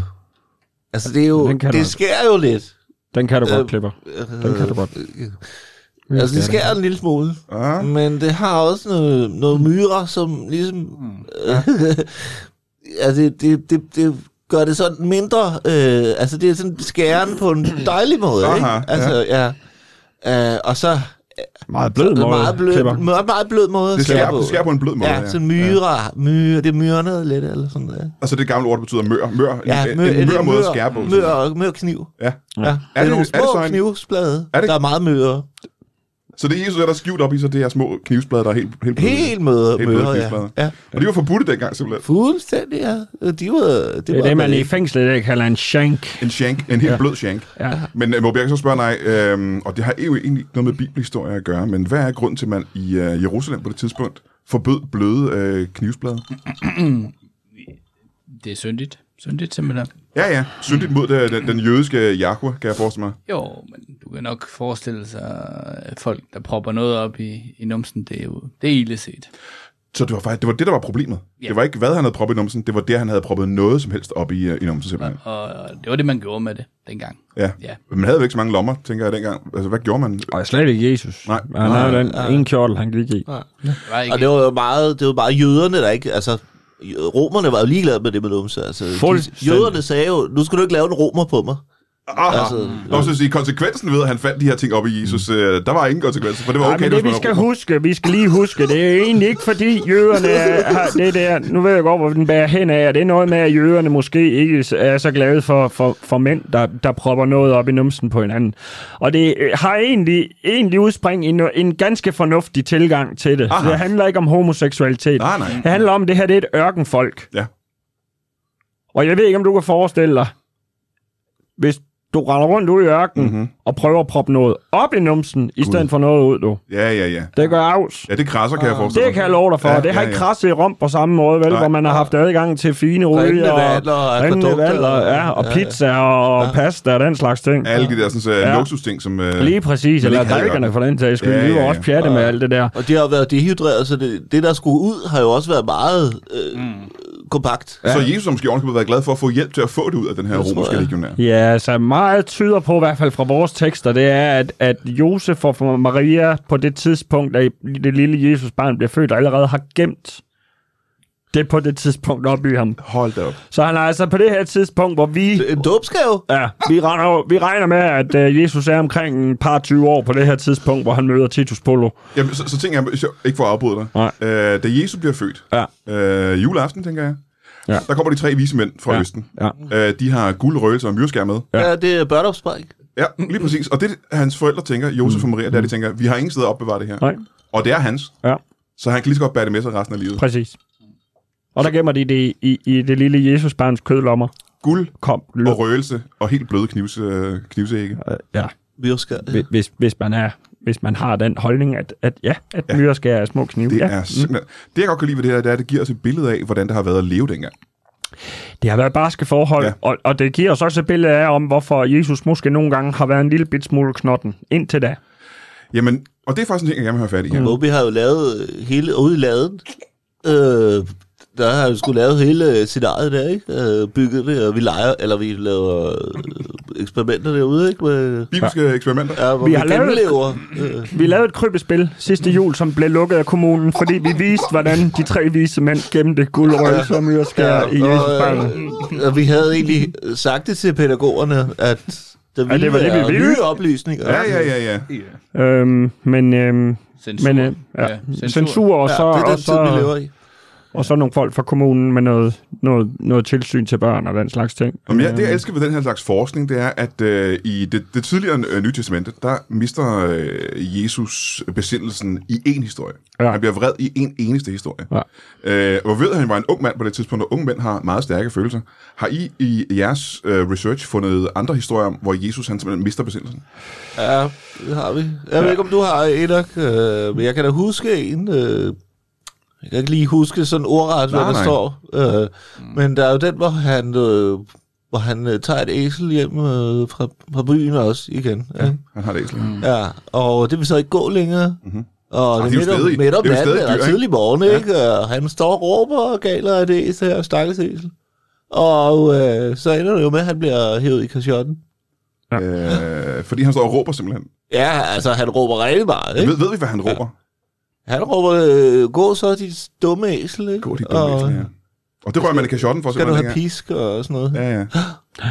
S2: altså det er jo...
S3: Den kan
S2: Det
S3: du-
S2: sker jo lidt.
S3: Den kan du godt,
S2: Øh,
S3: Klipper.
S2: Øh,
S3: Den kan du godt.
S2: Altså det sker en lille smule.
S1: Ah,
S2: Men det har også noget, noget myrer, som ligesom...
S1: Mm.
S2: Øh, altså, det, det, det, det gør det sådan mindre... Øh, altså, det er sådan skæren på en dejlig måde, ikke?
S1: Aha,
S2: Altså, ja. ja. Øh, og så
S3: Meget blød
S2: en
S3: måde,
S2: meget blød,
S3: Klipper.
S2: meget, meget blød måde
S1: det
S2: at skære
S1: skærer,
S2: på.
S1: det skærer på en blød måde.
S2: Ja, sådan myrer, myrer, det er myrnet lidt, eller sådan noget.
S1: Altså det gamle ord, der betyder mør. mør ja, en,
S2: mør-
S1: en, en
S2: det
S1: mør
S2: er
S1: måde at skære på. sådan.
S2: Mør, mør kniv.
S1: Ja.
S2: Ja.
S1: Er
S2: Er det,
S1: det-
S2: er nogle
S1: er det
S2: små
S1: så en-
S2: knivsblade,
S1: Er det-
S2: der er meget møre.
S1: Så det eneste, der er skjult op i, så det er små knivsblade, der er helt, helt bløde.
S2: Helt møre,
S1: Helt bløde
S2: møre ja.
S1: knivsblade.
S2: ja.
S1: Og de var forbudte dengang simpelthen.
S2: Fuldstændig, ja. Øh, De var, det,
S3: Det er
S2: var
S3: det, man i fængslet ikke kalder en shank.
S1: En shank, en helt ja. blød shank.
S3: Ja.
S1: Men uh, må Bjerg så spørge dig, øhm, og det har jo egentlig ikke noget med bibelhistorie at gøre, men hvad er grunden til, at man i øh, Jerusalem på det tidspunkt forbød bløde øh, knivsblade?
S4: Det er syndigt. Syndigt simpelthen.
S1: Ja, ja. Syndigt mod øh, den, den jødiske Jahwe, kan jeg forestille mig.
S4: Jo, men du kan nok forestille sig at folk, der propper noget op i, i numsen, det er jo det er ille set.
S1: Så det var faktisk det, var det der var problemet.
S4: Ja.
S1: Det var ikke, hvad han havde proppet i numsen, det var det, han havde proppet noget som helst op i, øh, i numsen simpelthen.
S4: Og, og det var det, man gjorde med det dengang.
S1: Ja.
S4: Ja.
S1: Man havde jo ikke så mange lommer, tænker jeg dengang. Altså, hvad gjorde man?
S3: Og slet ikke Jesus.
S1: Nej.
S3: Han
S2: Nej,
S3: havde den
S2: nej.
S3: ene kjortel, han gik i.
S4: Det var ikke,
S2: Og det var jo meget, det var bare jøderne, der ikke... Altså, romerne var jo ligeglade med det med numse. Altså, de,
S3: Fuldstændig.
S2: jøderne sagde jo, nu skal du ikke lave en romer på mig.
S1: Aha. Altså,
S2: Altså,
S1: Nå, så at sige, konsekvensen ved, at han fandt de her ting op i Jesus, øh, der var ingen konsekvenser, for det var
S3: Nej,
S1: okay,
S3: men det vi
S1: hvis man
S3: skal
S1: var romer.
S3: huske, vi skal lige huske, det er egentlig ikke fordi jøderne er- har det der, nu ved jeg godt, hvor den bærer hen af, og det er noget med, at jøderne måske ikke er så glade for, for, for mænd, der, der propper noget op i numsen på hinanden. Og det øh, har egentlig, egentlig udspring i no, en ganske fornuftig tilgang til det.
S1: Aha.
S3: Det handler ikke om homoseksualitet.
S1: Nej, Ah, nej.
S3: Det handler om, at det her det er et ørkenfolk.
S1: Ja.
S3: Og jeg ved ikke, om du kan forestille dig, hvis du render rundt ud i ørkenen
S1: Mhm.
S3: mm-hmm. og prøver at proppe noget op i numsen, i stedet for noget ud, du.
S1: Ja, ja, ja.
S3: Det gør afs.
S1: Ja, det krasser, kan jeg forestille
S3: Det kan jeg love dig for.
S1: Ja,
S3: Ja, det har
S1: ja,
S3: ja, ikke
S1: ja.
S3: krasset i Rom på samme måde, vel?
S1: Nej.
S3: Nej. Hvor man har haft adgang til fine
S2: Rindende
S3: olier
S2: vandler og
S3: rindende
S2: akvædukter.
S3: vandler, ja, og
S2: Ja, ja.
S3: pizza og pasta og den slags ting.
S1: Alle de der sådan, uh,
S3: Ja.
S1: luksusting, som... Uh,
S3: Lige præcis,
S1: Men
S3: eller
S1: ikke havde
S3: dalkerne
S1: nok.
S3: for den sags skyld.
S1: Ja,
S3: Ja,
S1: ja,
S3: ja,
S1: ja.
S3: var også pjatte med alt det der.
S2: Og det har jo været dehydreret, så det, det der skulle ud, har jo også været meget øh, mm. kompakt.
S1: Så Jesus har måske ovenkøbet været glad for at få hjælp til at få det ud af den her
S2: tror
S1: romerske
S2: jeg.
S1: legionær.
S3: Ja, så meget tyder på, i hvert fald fra vores tekster, det er, at, at Josef og Maria på det tidspunkt, da det lille Jesus barn bliver født, allerede har gemt det på det tidspunkt op i ham.
S1: Hold da op.
S3: Så han er altså på det her tidspunkt, hvor vi...
S2: En dåbskave?
S3: Ja, vi regner, jo- vi regner med, at øh, Jesus er omkring en par 20 år på det her tidspunkt, hvor han møder Titus Polo.
S1: Jamen, så, så tænker jeg, hvis jeg ikke for at afbryde dig.
S3: Nej.
S1: Øh, da Jesus bliver født,
S3: Ja.
S1: øh, juleaften, tænker jeg,
S3: Ja.
S1: der kommer de tre vise mænd fra
S3: Ja.
S1: Østen.
S3: Ja.
S1: Øh, de har guld, røgelse og myrskær med.
S2: Ja, ja det er børneopspræk.
S1: Ja, lige præcis. Og det, hans forældre tænker, Josef og Maria, der de tænker, vi har ingen steder at opbevare det her.
S3: Mm. Nej.
S1: Og det er hans.
S3: Ja,
S1: Så han kan lige så godt bære det med sig resten af livet.
S3: præcis. Og der gemmer de det i, i det lille Jesusbarns kødlommer.
S1: Guld
S3: Kom,
S1: og
S3: løb.
S1: røgelse og helt bløde knivs, øh, knivsægge.
S3: Ja,
S2: Myrskær.
S3: hvis- hvis, hvis, man er, hvis man har den holdning, at, at ja, at ja. myreskær er små knive.
S1: Det
S3: ja.
S1: er simpelthen... Det, jeg godt kan lide ved det her, det er, at det giver os et billede af, hvordan det har været at leve dengang.
S3: det har været barske forhold,
S1: Ja.
S3: ja. og, og det giver os også et billede af, om hvorfor Jesus måske nogle gange har været en lille bit smule knotten indtil da.
S1: Jamen, og det er faktisk en ting, jeg gerne vil have fat i her.
S2: Mm. Moby har jo lavet øh, hele ude i laden. Øh, der har jo skulle lavet hele øh, scenariet der, ikke? Øh, bygget det, og vi leger, eller vi laver øh, eksperimenter derude, ikke? Med,
S1: Bibelske ja. eksperimenter.
S2: ja, hvor
S3: Vi
S2: vi,
S3: har
S2: har
S3: lavet-
S2: genlever. Øh,
S3: Vi lavede et krybespil sidste
S2: Mm.
S3: jul, som blev lukket af kommunen, fordi vi viste, hvordan de tre vise mænd gemte guldrøg, som jeg skærer i
S2: og,
S3: Jesu barn.
S2: øh, og vi havde egentlig sagt det til pædagogerne, at der ville
S3: det var det, vi
S2: være
S3: ville.
S2: nye oplysninger.
S1: Ja, ja, ja, ja.
S3: Øhm, men øhm,
S4: Censur.
S3: Men, øh, ja.
S4: censur.
S3: censur, og
S2: Ja,
S3: så...
S2: det er den
S3: og
S2: tid, vi lever
S3: så
S2: i.
S3: Og så nogle folk fra kommunen med noget, noget, noget tilsyn til børn og den slags ting.
S1: Jamen, jeg, det, jeg elsker ved den her slags forskning, det er, at øh, i det, det tidligere øh, Nye Testamente, der mister øh, Jesus besindelsen i én historie. Ja.
S3: Ja.
S1: Han bliver vred i en eneste historie.
S3: Ja.
S1: Øh, og ved, at han var en ung mand på det tidspunkt, og unge mænd har meget stærke følelser. Har I i jeres øh, research fundet andre historier om, hvor Jesus han simpelthen mister besindelsen?
S2: Ja, det har vi. Jeg ved ikke, om du har, Enoch, øh, men jeg kan da huske en. Øh, jeg kan ikke lige huske sådan ordret, hvad
S1: Nej,
S2: der
S1: nej. Mm.
S2: står. Øh, men der er jo den, hvor han, øh, hvor han øh, tager et æsel hjem øh, fra, fra byen også igen. Ja. Ja.
S1: Han har det æsel. Mm.
S2: Ja, og det vil så ikke gå længere. Mm-hmm. Og
S1: Ah,
S2: det
S1: de er jo
S2: er midt om,
S1: stadig-
S2: midt om
S1: det er jo
S2: natten,
S1: stadig
S2: eller
S1: dyr, ikke?
S2: tidlig morgen, ja. ikke? Og han står og råber og galer af det æsel her, stakkels æsel. Og øh, så ender det jo med, at han bliver hævet i kasjotten.
S1: Øh, fordi han står og råber simpelthen.
S2: Ja, altså han råber rigtig meget, ikke?
S1: Ved, ved vi, hvad han råber?
S2: Han råber, øh, gå så dit dumme æsel, ikke?
S1: Gå de dumme æsel her. Og det rører man i kashotten for,
S2: Skal du
S1: simpelthen.
S2: have
S1: ikke?
S2: pisk og sådan noget? Ja.
S1: Ja, ja.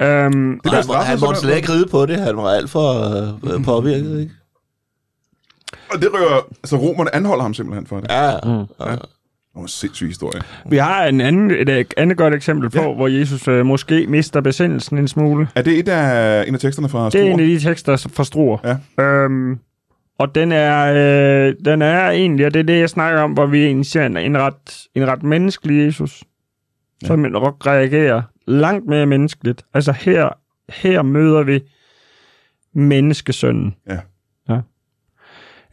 S3: Øhm,
S1: Det bliver
S2: Han, må-
S1: straffet,
S2: han måtte
S1: simpelthen.
S2: slet ikke ride på det, han var alt for øh, øh, påvirket, ikke?
S1: Og det rører, så romerne anholder ham simpelthen for det.
S2: Ja, mm.
S1: Det var en sindssyg historie.
S3: vi har en anden, et øh, andet godt eksempel på, ja. hvor Jesus øh, måske mister besindelsen en smule.
S1: Er det et af, en af teksterne fra
S3: Det er en af
S1: Struer?
S3: de tekster s- fra Struer. Ja. Øhm, og den er, øh, den er egentlig, og det er det, jeg snakker om, hvor vi egentlig ser en, en, ret, en ret menneskelig Jesus, ja. som en- reagerer langt mere menneskeligt. Altså her, her møder vi menneskesønnen.
S1: Ja.
S3: ja.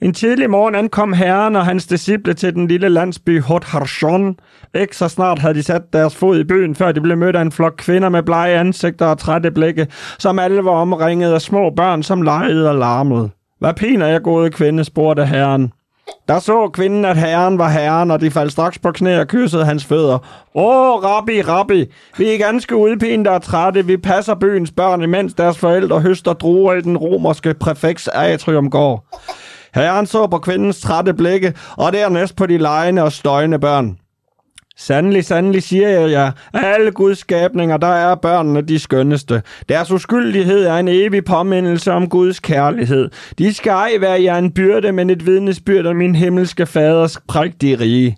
S3: En tidlig morgen ankom herren og hans disciple til den lille landsby Hot Harshon. Ikke så snart havde de sat deres fod i byen, før de blev mødt af en flok kvinder med blege ansigter og trætte blikke, som alle var omringet af små børn, som legede og larmede. Hvad piner jeg, gode kvinde, spurgte herren. Der så kvinden, at herren var herren, og de faldt straks på knæ og kyssede hans fødder. Åh, rabbi, rabbi, vi er ganske udpinte og trætte. Vi passer byens børn, imens deres forældre høster druer i den romerske præfekts atriumgård. Herren så på kvindens trætte blikke, og dernæst på de lejende og støjende børn. Sandelig, sandelig siger jeg jer, af alle Guds skabninger, der er børnene de skønneste. Deres uskyldighed er en evig påmindelse om Guds kærlighed. De skal ej være jer en byrde, men et vidnesbyrd om min himmelske faders prægtige rige.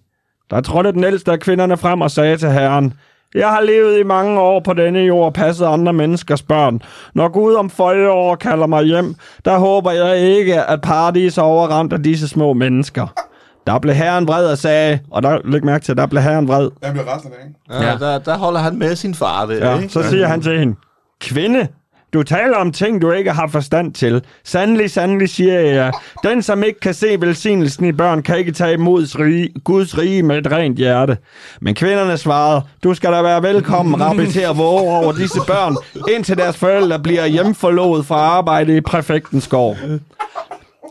S3: Der trådte den ældste af kvinderne frem og sagde til herren, jeg har levet i mange år på denne jord og passet andre menneskers børn. Når Gud om 40 år kalder mig hjem, der håber jeg ikke, at paradis er overramt af disse små mennesker. Der blev herren vred og sagde, og der, læg mærke til, der blev herren vred.
S1: Jeg bliver resten af dagen.
S2: ja. Der, der holder han med sin far der,
S3: Ja,
S2: ikke?
S3: så siger han til hende, kvinde, du taler om ting, du ikke har forstand til. Sandelig, sandelig siger jeg jer. Den, som ikke kan se velsignelsen i børn, kan ikke tage imod rige, Guds rige med et rent hjerte. Men kvinderne svarede, du skal da være velkommen, rabbi, til at våge over disse børn, indtil deres forældre bliver hjemforlovet fra arbejde i præfektens gård.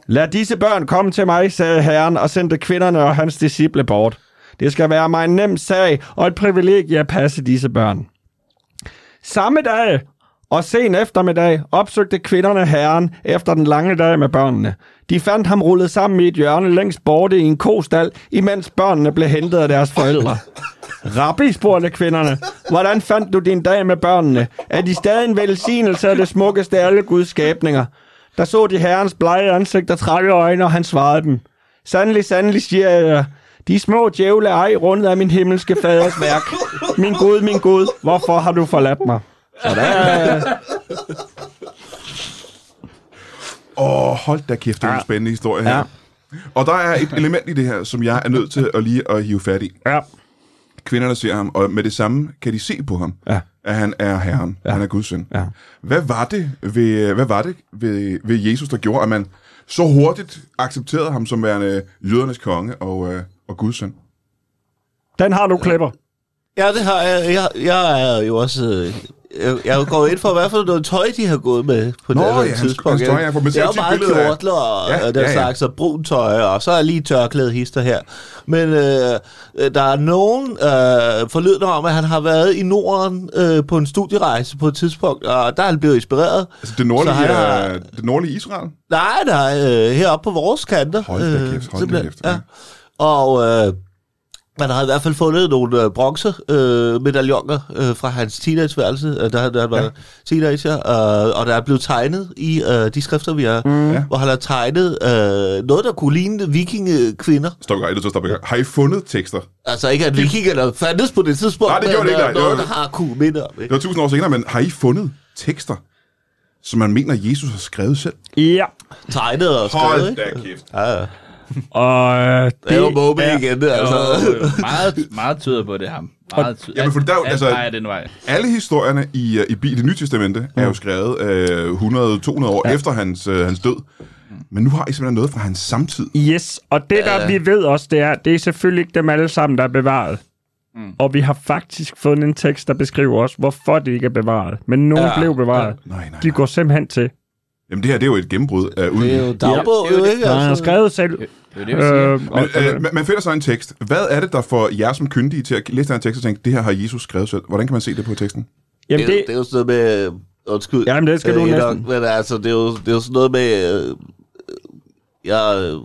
S3: Lad disse børn komme til mig, sagde herren, og sendte kvinderne og hans disciple bort. Det skal være mig en nem sag og et privilegie at passe disse børn. Samme dag og sen eftermiddag opsøgte kvinderne herren efter den lange dag med børnene. De fandt ham rullet sammen i et hjørne længst borte i en kostal, imens børnene blev hentet af deres forældre. Rabbi, spurgte kvinderne, hvordan fandt du din dag med børnene? Er de stadig en velsignelse af det smukkeste af alle Guds skabninger? Der så de herrens blege ansigt og trække øjne, og han svarede dem. Sandelig, sandelig, siger jeg jer. De små djævle er ej rundet af min himmelske faders værk. Min Gud, min Gud, hvorfor har du forladt mig? Så der er,
S1: Åh, hold da kæft, det er en spændende historie her.
S3: Ja.
S1: Og der er et element i det her, som jeg er nødt til at lige at hive fat i.
S3: ja,
S1: Kvinderne ser ham, og med det samme kan de se på ham,
S3: Ja.
S1: at han er herren, ja. han er Guds søn.
S3: Ja.
S1: Hvad var det, ved, hvad var det ved, ved Jesus, der gjorde, at man så hurtigt accepterede ham som værende jødernes konge og, øh, og Guds søn?
S3: den har du, Klipper.
S2: Ja, det har jeg. Jeg, jeg er jo også... øh, Jeg, jeg går ind for, hvad for noget tøj, de har gået med på
S1: Nå,
S2: det
S1: ja,
S2: her
S1: hans-
S2: tidspunkt.
S1: hans tøj, jeg får med til
S2: jeg
S1: at
S2: er jo
S1: se
S2: meget
S1: billeder af-
S2: kjortler og,
S1: Ja,
S2: ja, og den
S1: ja,
S2: ja,
S1: ja.
S2: slags, og brun tøj, og så er lige tørklæde hister her. Men øh, øh, der er nogen øh, forlydende om, at han har været i Norden øh, på en studierejse på et tidspunkt, og der er han blevet inspireret.
S1: Altså det nordlige,
S2: Så han har-
S1: øh, det nordlige Israel?
S2: Nej, nej, øh, heroppe på vores kanter.
S1: Hold da kæft,
S2: Øh,
S1: hold da
S2: simpelthen,
S1: kæft, ja.
S2: Og øh, Man har i hvert fald fundet nogle øh, bronzemedaljoner øh, fra hans teenageværelse, øh, da, han- da han var ja. teenager, øh, og der er blevet tegnet i øh, de skrifter, vi har, mm.
S1: Ja.
S2: hvor han har tegnet øh, noget, der kunne ligne vikingekvinder.
S1: Stop i gang, jeg er nødt til at stoppe i gang. Har I fundet tekster?
S2: Altså ikke, at vikingerne fandtes på det tidspunkt,
S1: Nej, det gjorde
S2: men
S1: det ikke,
S2: øh,
S1: nej. Det
S2: noget,
S1: var-
S2: der har kunne minde om.
S1: Det
S2: Ikke?
S1: var tusind år senere, men har I fundet tekster, som man mener, Jesus har skrevet selv?
S3: Ja,
S2: Tegnet og skrevet,
S1: Hold
S2: ikke?
S1: da kæft.
S2: Ja, ja.
S3: og øh, det,
S2: Det er jo mobbing igen, altså.
S4: Altså, meget, meget tyder på det, ham. Meget tyder.
S1: Jamen, for der er jo- altså-
S4: altså... Nej, den vej.
S1: Alle historierne i, øh, i, Bi- i det nye testamente er
S2: Mm.
S1: jo skrevet øh, 100-200 år ja. efter hans, øh, hans død. Men nu har I simpelthen noget fra hans samtid.
S3: Yes, og det der vi ved også, det er, det er selvfølgelig ikke dem alle sammen, der er bevaret. Mm. Og vi har faktisk fundet en tekst, der beskriver også, hvorfor de ikke er bevaret. Men nogle
S2: Ja,
S3: ja, blev bevaret. Ja.
S1: Nej, nej, nej.
S3: De går simpelthen til.
S1: Jamen det her, det er jo et gennembrud af uden.
S2: Det er jo dagbog,
S4: det er jo
S2: jo,
S4: det.
S2: ikke?
S3: Ja, han har
S2: Altså.
S3: skrevet selv.
S4: Det er jo det, vi siger.
S3: Øh,
S1: Men,
S3: og-
S1: øh, man- man finder så en tekst. Hvad er det, der får jer som kyndige til at læse den her tekst og tænke, det her har Jesus skrevet selv? Hvordan kan man se det på teksten?
S3: Jamen,
S2: det, er jo-
S3: det,
S2: det er jo sådan noget med... øh, Undskyld.
S3: Jamen, det skal du
S2: Enoch,
S3: næsten.
S2: Men altså, det er jo, det er jo sådan noget med... Øh, øh, jeg er øh,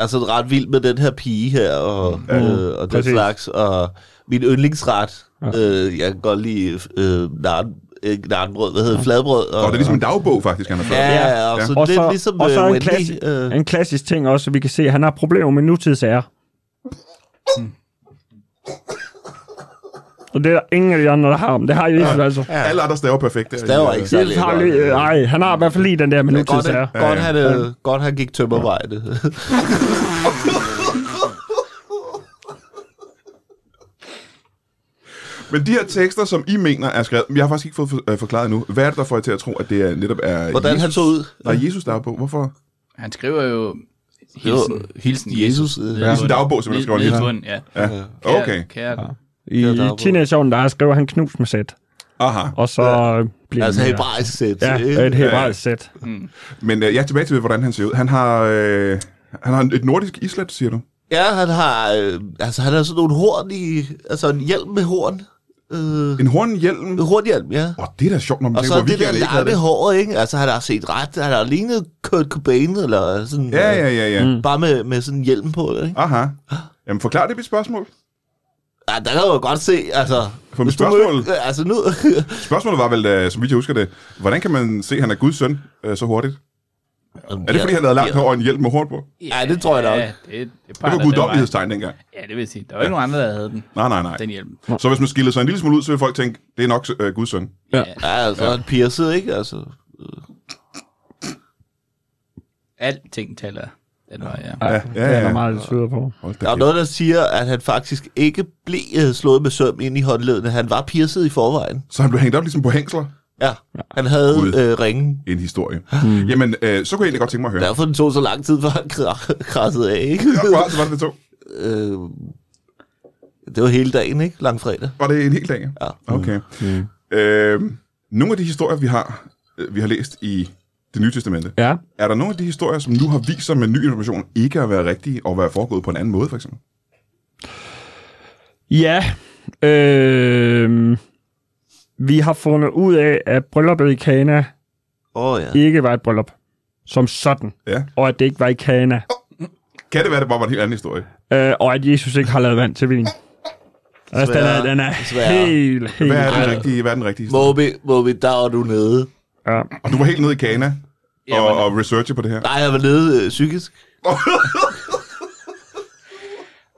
S2: er sådan ret vild med den her pige her, og, ja, øh, og den
S3: Mm. præcis.
S2: slags. Og min yndlingsret, øh, jeg kan godt lide øh, narn, ikke narnbrød, hvad hedder det, fladbrød.
S1: Og det er ligesom en dagbog, faktisk, han har fået.
S2: Ja, ja, og
S1: Ja.
S2: så
S3: og
S2: lidt
S3: så,
S2: ligesom
S3: og så
S2: øh,
S3: en,
S2: Wendy.
S3: klassi-
S2: øh,
S3: en klassisk ting også, vi kan se, at han har problemer med nutidsager.
S2: Hmm.
S3: Og det er der ingen af de andre, der har om. Det har Jesus altså.
S1: Alle andre staver perfekt. Det er
S2: Staver
S1: I, øh,
S2: ikke særlig
S3: Jesus har
S2: godt.
S3: lige, øh, ej, han har i hvert fald lige den der med
S2: Men Godt,
S3: nutidsager.
S2: han, godt, han, øh, godt, han gik tømmervejde.
S1: Men de her tekster, som I mener er skrevet, jeg har faktisk ikke fået for, øh, forklaret endnu. Hvad er det, der får jer til at tro, at det er, netop er
S2: Hvordan
S1: Jesus?
S2: han så ud?
S1: Nej, Jesus dagbog. Hvorfor?
S4: Han skriver jo
S2: Det
S4: hilsen, hilsen Jesus.
S2: Jesus, øh,
S4: Ja.
S1: Hilsen Ligesom dagbog, som han skriver lige.
S4: Nede på den, ja.
S1: Ja. Okay.
S4: Kære, kære.
S2: Det er
S3: I
S2: dagbog.
S3: teenageåren, der skriver han knus med sæt.
S1: Aha.
S3: Og så ja. bliver
S2: altså
S3: han-
S2: hebraisk sæt. ikke?
S3: Ja, et hebraisk sæt.
S1: Men øh, jeg er tilbage til, hvordan han ser ud. Han har, øh, han har et nordisk islet, siger du?
S2: Ja, han har, øh, altså, han har sådan nogle horn i, altså en hjelm med horn. Øh,
S1: En hornhjelm.
S2: en hornhjelm, ja.
S1: Åh, det er da sjovt, når man
S2: Og
S1: tænker
S2: så
S1: på, at
S2: det der
S1: vikingerne ikke havde
S2: lange
S1: det.
S2: hår, ikke? Altså, han har set ret, han har lignet Kurt Cobain, eller sådan,
S1: Ja,
S2: øh,
S1: ja, ja, ja. Mm.
S2: bare med, med sådan en hjelm på, ikke?
S1: Aha. Jamen, forklar det mit spørgsmål.
S2: Ja, der kan man jo godt se, altså...
S1: For mit
S2: hvis du
S1: spørgsmål-
S2: mødte- øh, altså, nu...
S1: Spørgsmålet var vel, øh, som vidt jeg husker det, hvordan kan man se, at han er Guds søn øh, så hurtigt? Er det, fordi han havde langt hår og en hjelm med hår på?
S2: Ja, det tror jeg nok.
S4: Ja, det, det,
S1: Det var guddommelighedstegn dengang.
S4: Ja, det vil jeg sige. Der var ikke nogen andre, der havde den.
S1: Nej, nej, nej.
S4: Den hjelm.
S1: Så hvis man skiller sig en lille smule ud, så vil folk tænke, det er nok øh, Guds søn.
S2: Ja, altså, han pierced, ikke? Altså,
S4: Alting taler den vej, ja.
S1: Ja, ja,
S3: Det er
S1: ja.
S3: der meget, der tyder på.
S1: Hold da
S2: der er
S1: kæft.
S2: noget, der siger, at han faktisk ikke blev øh, slået med søm ind i håndledene. Han var pierced i forvejen.
S1: Så han blev hængt op ligesom på hængsler.
S2: Ja, han havde
S1: Gud.
S2: øh, ringen.
S1: En historie. Jamen, øh, så kunne jeg egentlig godt tænke mig at høre.
S2: Derfor den tog så lang tid, før han kra- krassede af, ikke?
S1: Ja, Hvor altså, var det det to?
S2: øh, det var hele dagen, ikke? Langfredag.
S1: Var det en hel dag?
S2: Ja.
S1: Okay. Øh, nogle af de historier, vi har, øh, vi har læst i det nye testamente,
S3: Ja.
S1: er der nogle af de historier, som nu har vist sig med ny information, ikke at være rigtige og være foregået på en anden måde, for eksempel?
S3: Ja. Øh, vi har fundet ud af, at brylluppet i Kana
S2: Åh oh, ja.
S3: ikke var et bryllup. Som sådan.
S1: Ja.
S3: Og at det ikke var i Kana.
S1: Kan det være, det bare var en helt anden historie?
S3: Øh, og at Jesus ikke har lavet vand til vin. Altså, den er, den er
S2: Desværre.
S3: helt, helt...
S1: Hvad er den rigtige, hvad er den rigtige historie?
S2: Moby, Moby, der var du nede.
S3: Ja.
S1: Og du var helt nede i Ghana og,
S4: Jamen.
S1: og researche på det her.
S2: Nej, jeg var nede øh, psykisk.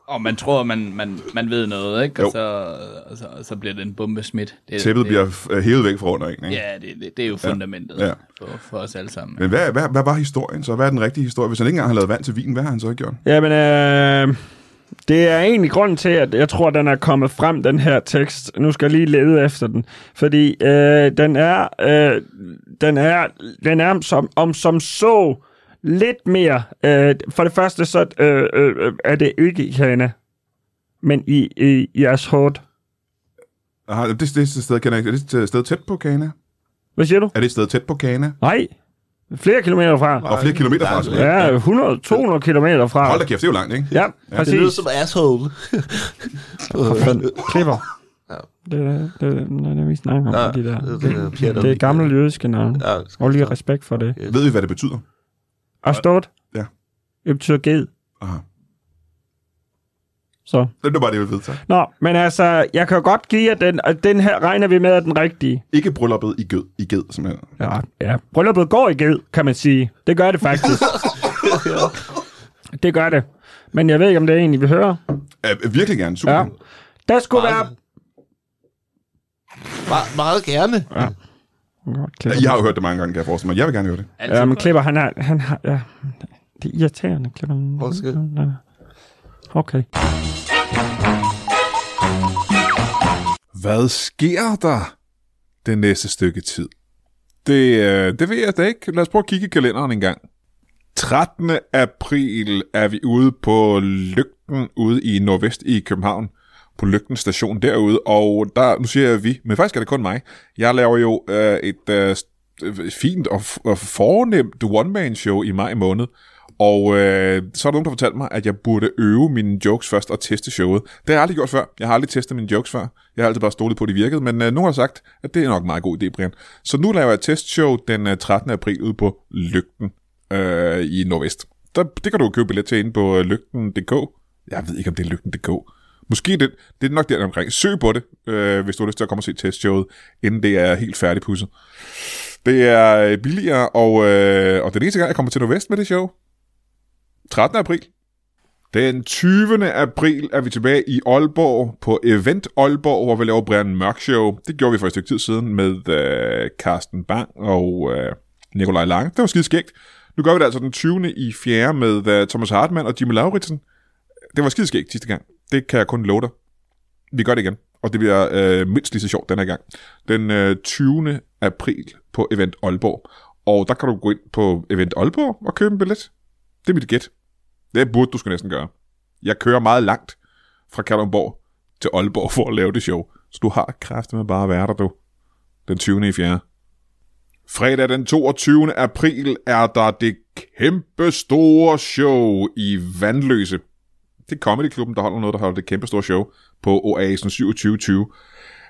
S4: Og man tror, man, man, man ved noget, ikke?
S1: Jo.
S4: Og så, og så, og så bliver den bombe smidt. Det,
S1: Tæppet
S4: det,
S1: bliver øh, hævet væk fra under en, ikke?
S4: Ja, det, det, det er jo fundamentet
S1: Ja.
S4: ja. For, for os alle sammen.
S1: Men hvad, hvad, hvad var historien så? Hvad er den rigtige historie? Hvis han ikke engang har lavet vand til vin, hvad har han så gjort?
S3: Jamen, øh, det er egentlig grunden til, at jeg tror, den er kommet frem, den her tekst. Nu skal jeg lige lede efter den. Fordi øh, den er, øh, den er, den er som, om som så lidt mere. Øh, for det første, så øh, øh, øh, er det ikke i Kana, men i, i, i Ashot.
S1: Aha, det, det, det sted kender jeg ikke. Er det et sted tæt på Ghana?
S3: Hvad siger du?
S1: Er det et sted tæt på Ghana?
S3: Nej, flere kilometer fra.
S1: Og flere kilometer fra os.
S3: Ja, 100-200 kilometer fra.
S1: Hold da kæft, det er jo langt, ikke?
S3: Ja,
S2: Det lyder
S3: præcis.
S2: som asshole.
S3: Klipper. Det er det, det, er det, vi snakker om.
S2: Ja,
S3: de der.
S2: det er pjat og
S3: Det er
S2: pjat.
S3: gamle jødiske navne.
S2: Ja, det skal
S3: Og lige
S2: vi
S3: respekt for det.
S1: Ved vi, hvad det betyder?
S3: Og stort.
S1: Ja.
S3: Det betyder ged.
S1: Aha.
S3: Så.
S1: Det er bare det, vi ved. Tak.
S3: Nå, men altså, jeg kan jo godt give, at den, at den her regner vi med er den rigtige.
S1: Ikke brylluppet i ged, i ged simpelthen.
S3: Ja, ja. Brylluppet går i ged, kan man sige. Det gør det faktisk. det gør det. Men jeg ved ikke, om det er egentlig, vi hører.
S1: Øh, virkelig gerne. Super.
S3: Ja.
S1: Ja.
S3: Der skulle
S2: Meget.
S3: være...
S2: Me- meget gerne.
S3: Godt, klipper.
S1: Jeg har jo hørt det mange gange, kan jeg forestille mig. Jeg vil gerne høre det.
S4: Altså,
S3: Ja, men Klipper, han har... Han har ja. Det er irriterende, Klipper.
S2: Undskyld.
S3: Okay.
S5: Hvad sker der den næste stykke tid? Det, øh, det ved jeg da ikke. Lad os prøve at kigge i kalenderen en gang. 13. april er vi ude på Lygten ude i Nordvest i København på Lygten station derude, og der, nu siger jeg vi, men faktisk er det kun mig. Jeg laver jo øh, et øh, st- øh, fint og, f- og fornemt one-man-show i maj måned, og øh, så er der nogen, der fortalte mig, at jeg burde øve mine jokes først og teste showet. Det har jeg aldrig gjort før. Jeg har aldrig testet mine jokes før. Jeg har altid bare stolet på, at de virkede, men øh, nogen har sagt, at det er nok en meget god idé, Brian. Så nu laver jeg et testshow den øh, 13. april ude på Lygten øh, i Nordvest. Der, det kan du købe billet til inde på øh, lygten.dk. Jeg ved ikke, om det er lygten.dk. Måske det, det er nok der omkring. Søg på det, øh, hvis du har lyst til at komme og se testshowet, inden det er helt færdigpudset. Det er øh, billigere, og, øh, og den eneste gang, jeg kommer til Nordvest med det show, 13. april. Den 20. april er vi tilbage i Aalborg på Event Aalborg, hvor vi laver Brian Mørk Show. Det gjorde vi for et stykke tid siden med øh, Carsten Bang og øh, Nikolaj Lange. Det var skide skægt. Nu gør vi det altså den 20. i 4. med øh, Thomas Hartmann og Jimmy Lauritsen. Det var skide skægt sidste gang. Det kan jeg kun love dig. Vi gør det igen, og det bliver øh, mindst lige så sjovt den her gang. Den øh, 20. april på Event Aalborg. Og der kan du gå ind på Event Aalborg og købe en billet. Det er mit gæt. Det burde du skulle næsten gøre. Jeg kører meget langt fra Kalundborg til Aalborg for at lave det show. Så du har kræfter med bare at være der, du. Den 20. i 4. Fredag den 22. april er der det kæmpe store show i Vandløse. Det er Comedy Klubben, der holder noget, der holder det kæmpe store show på Oasen 2720.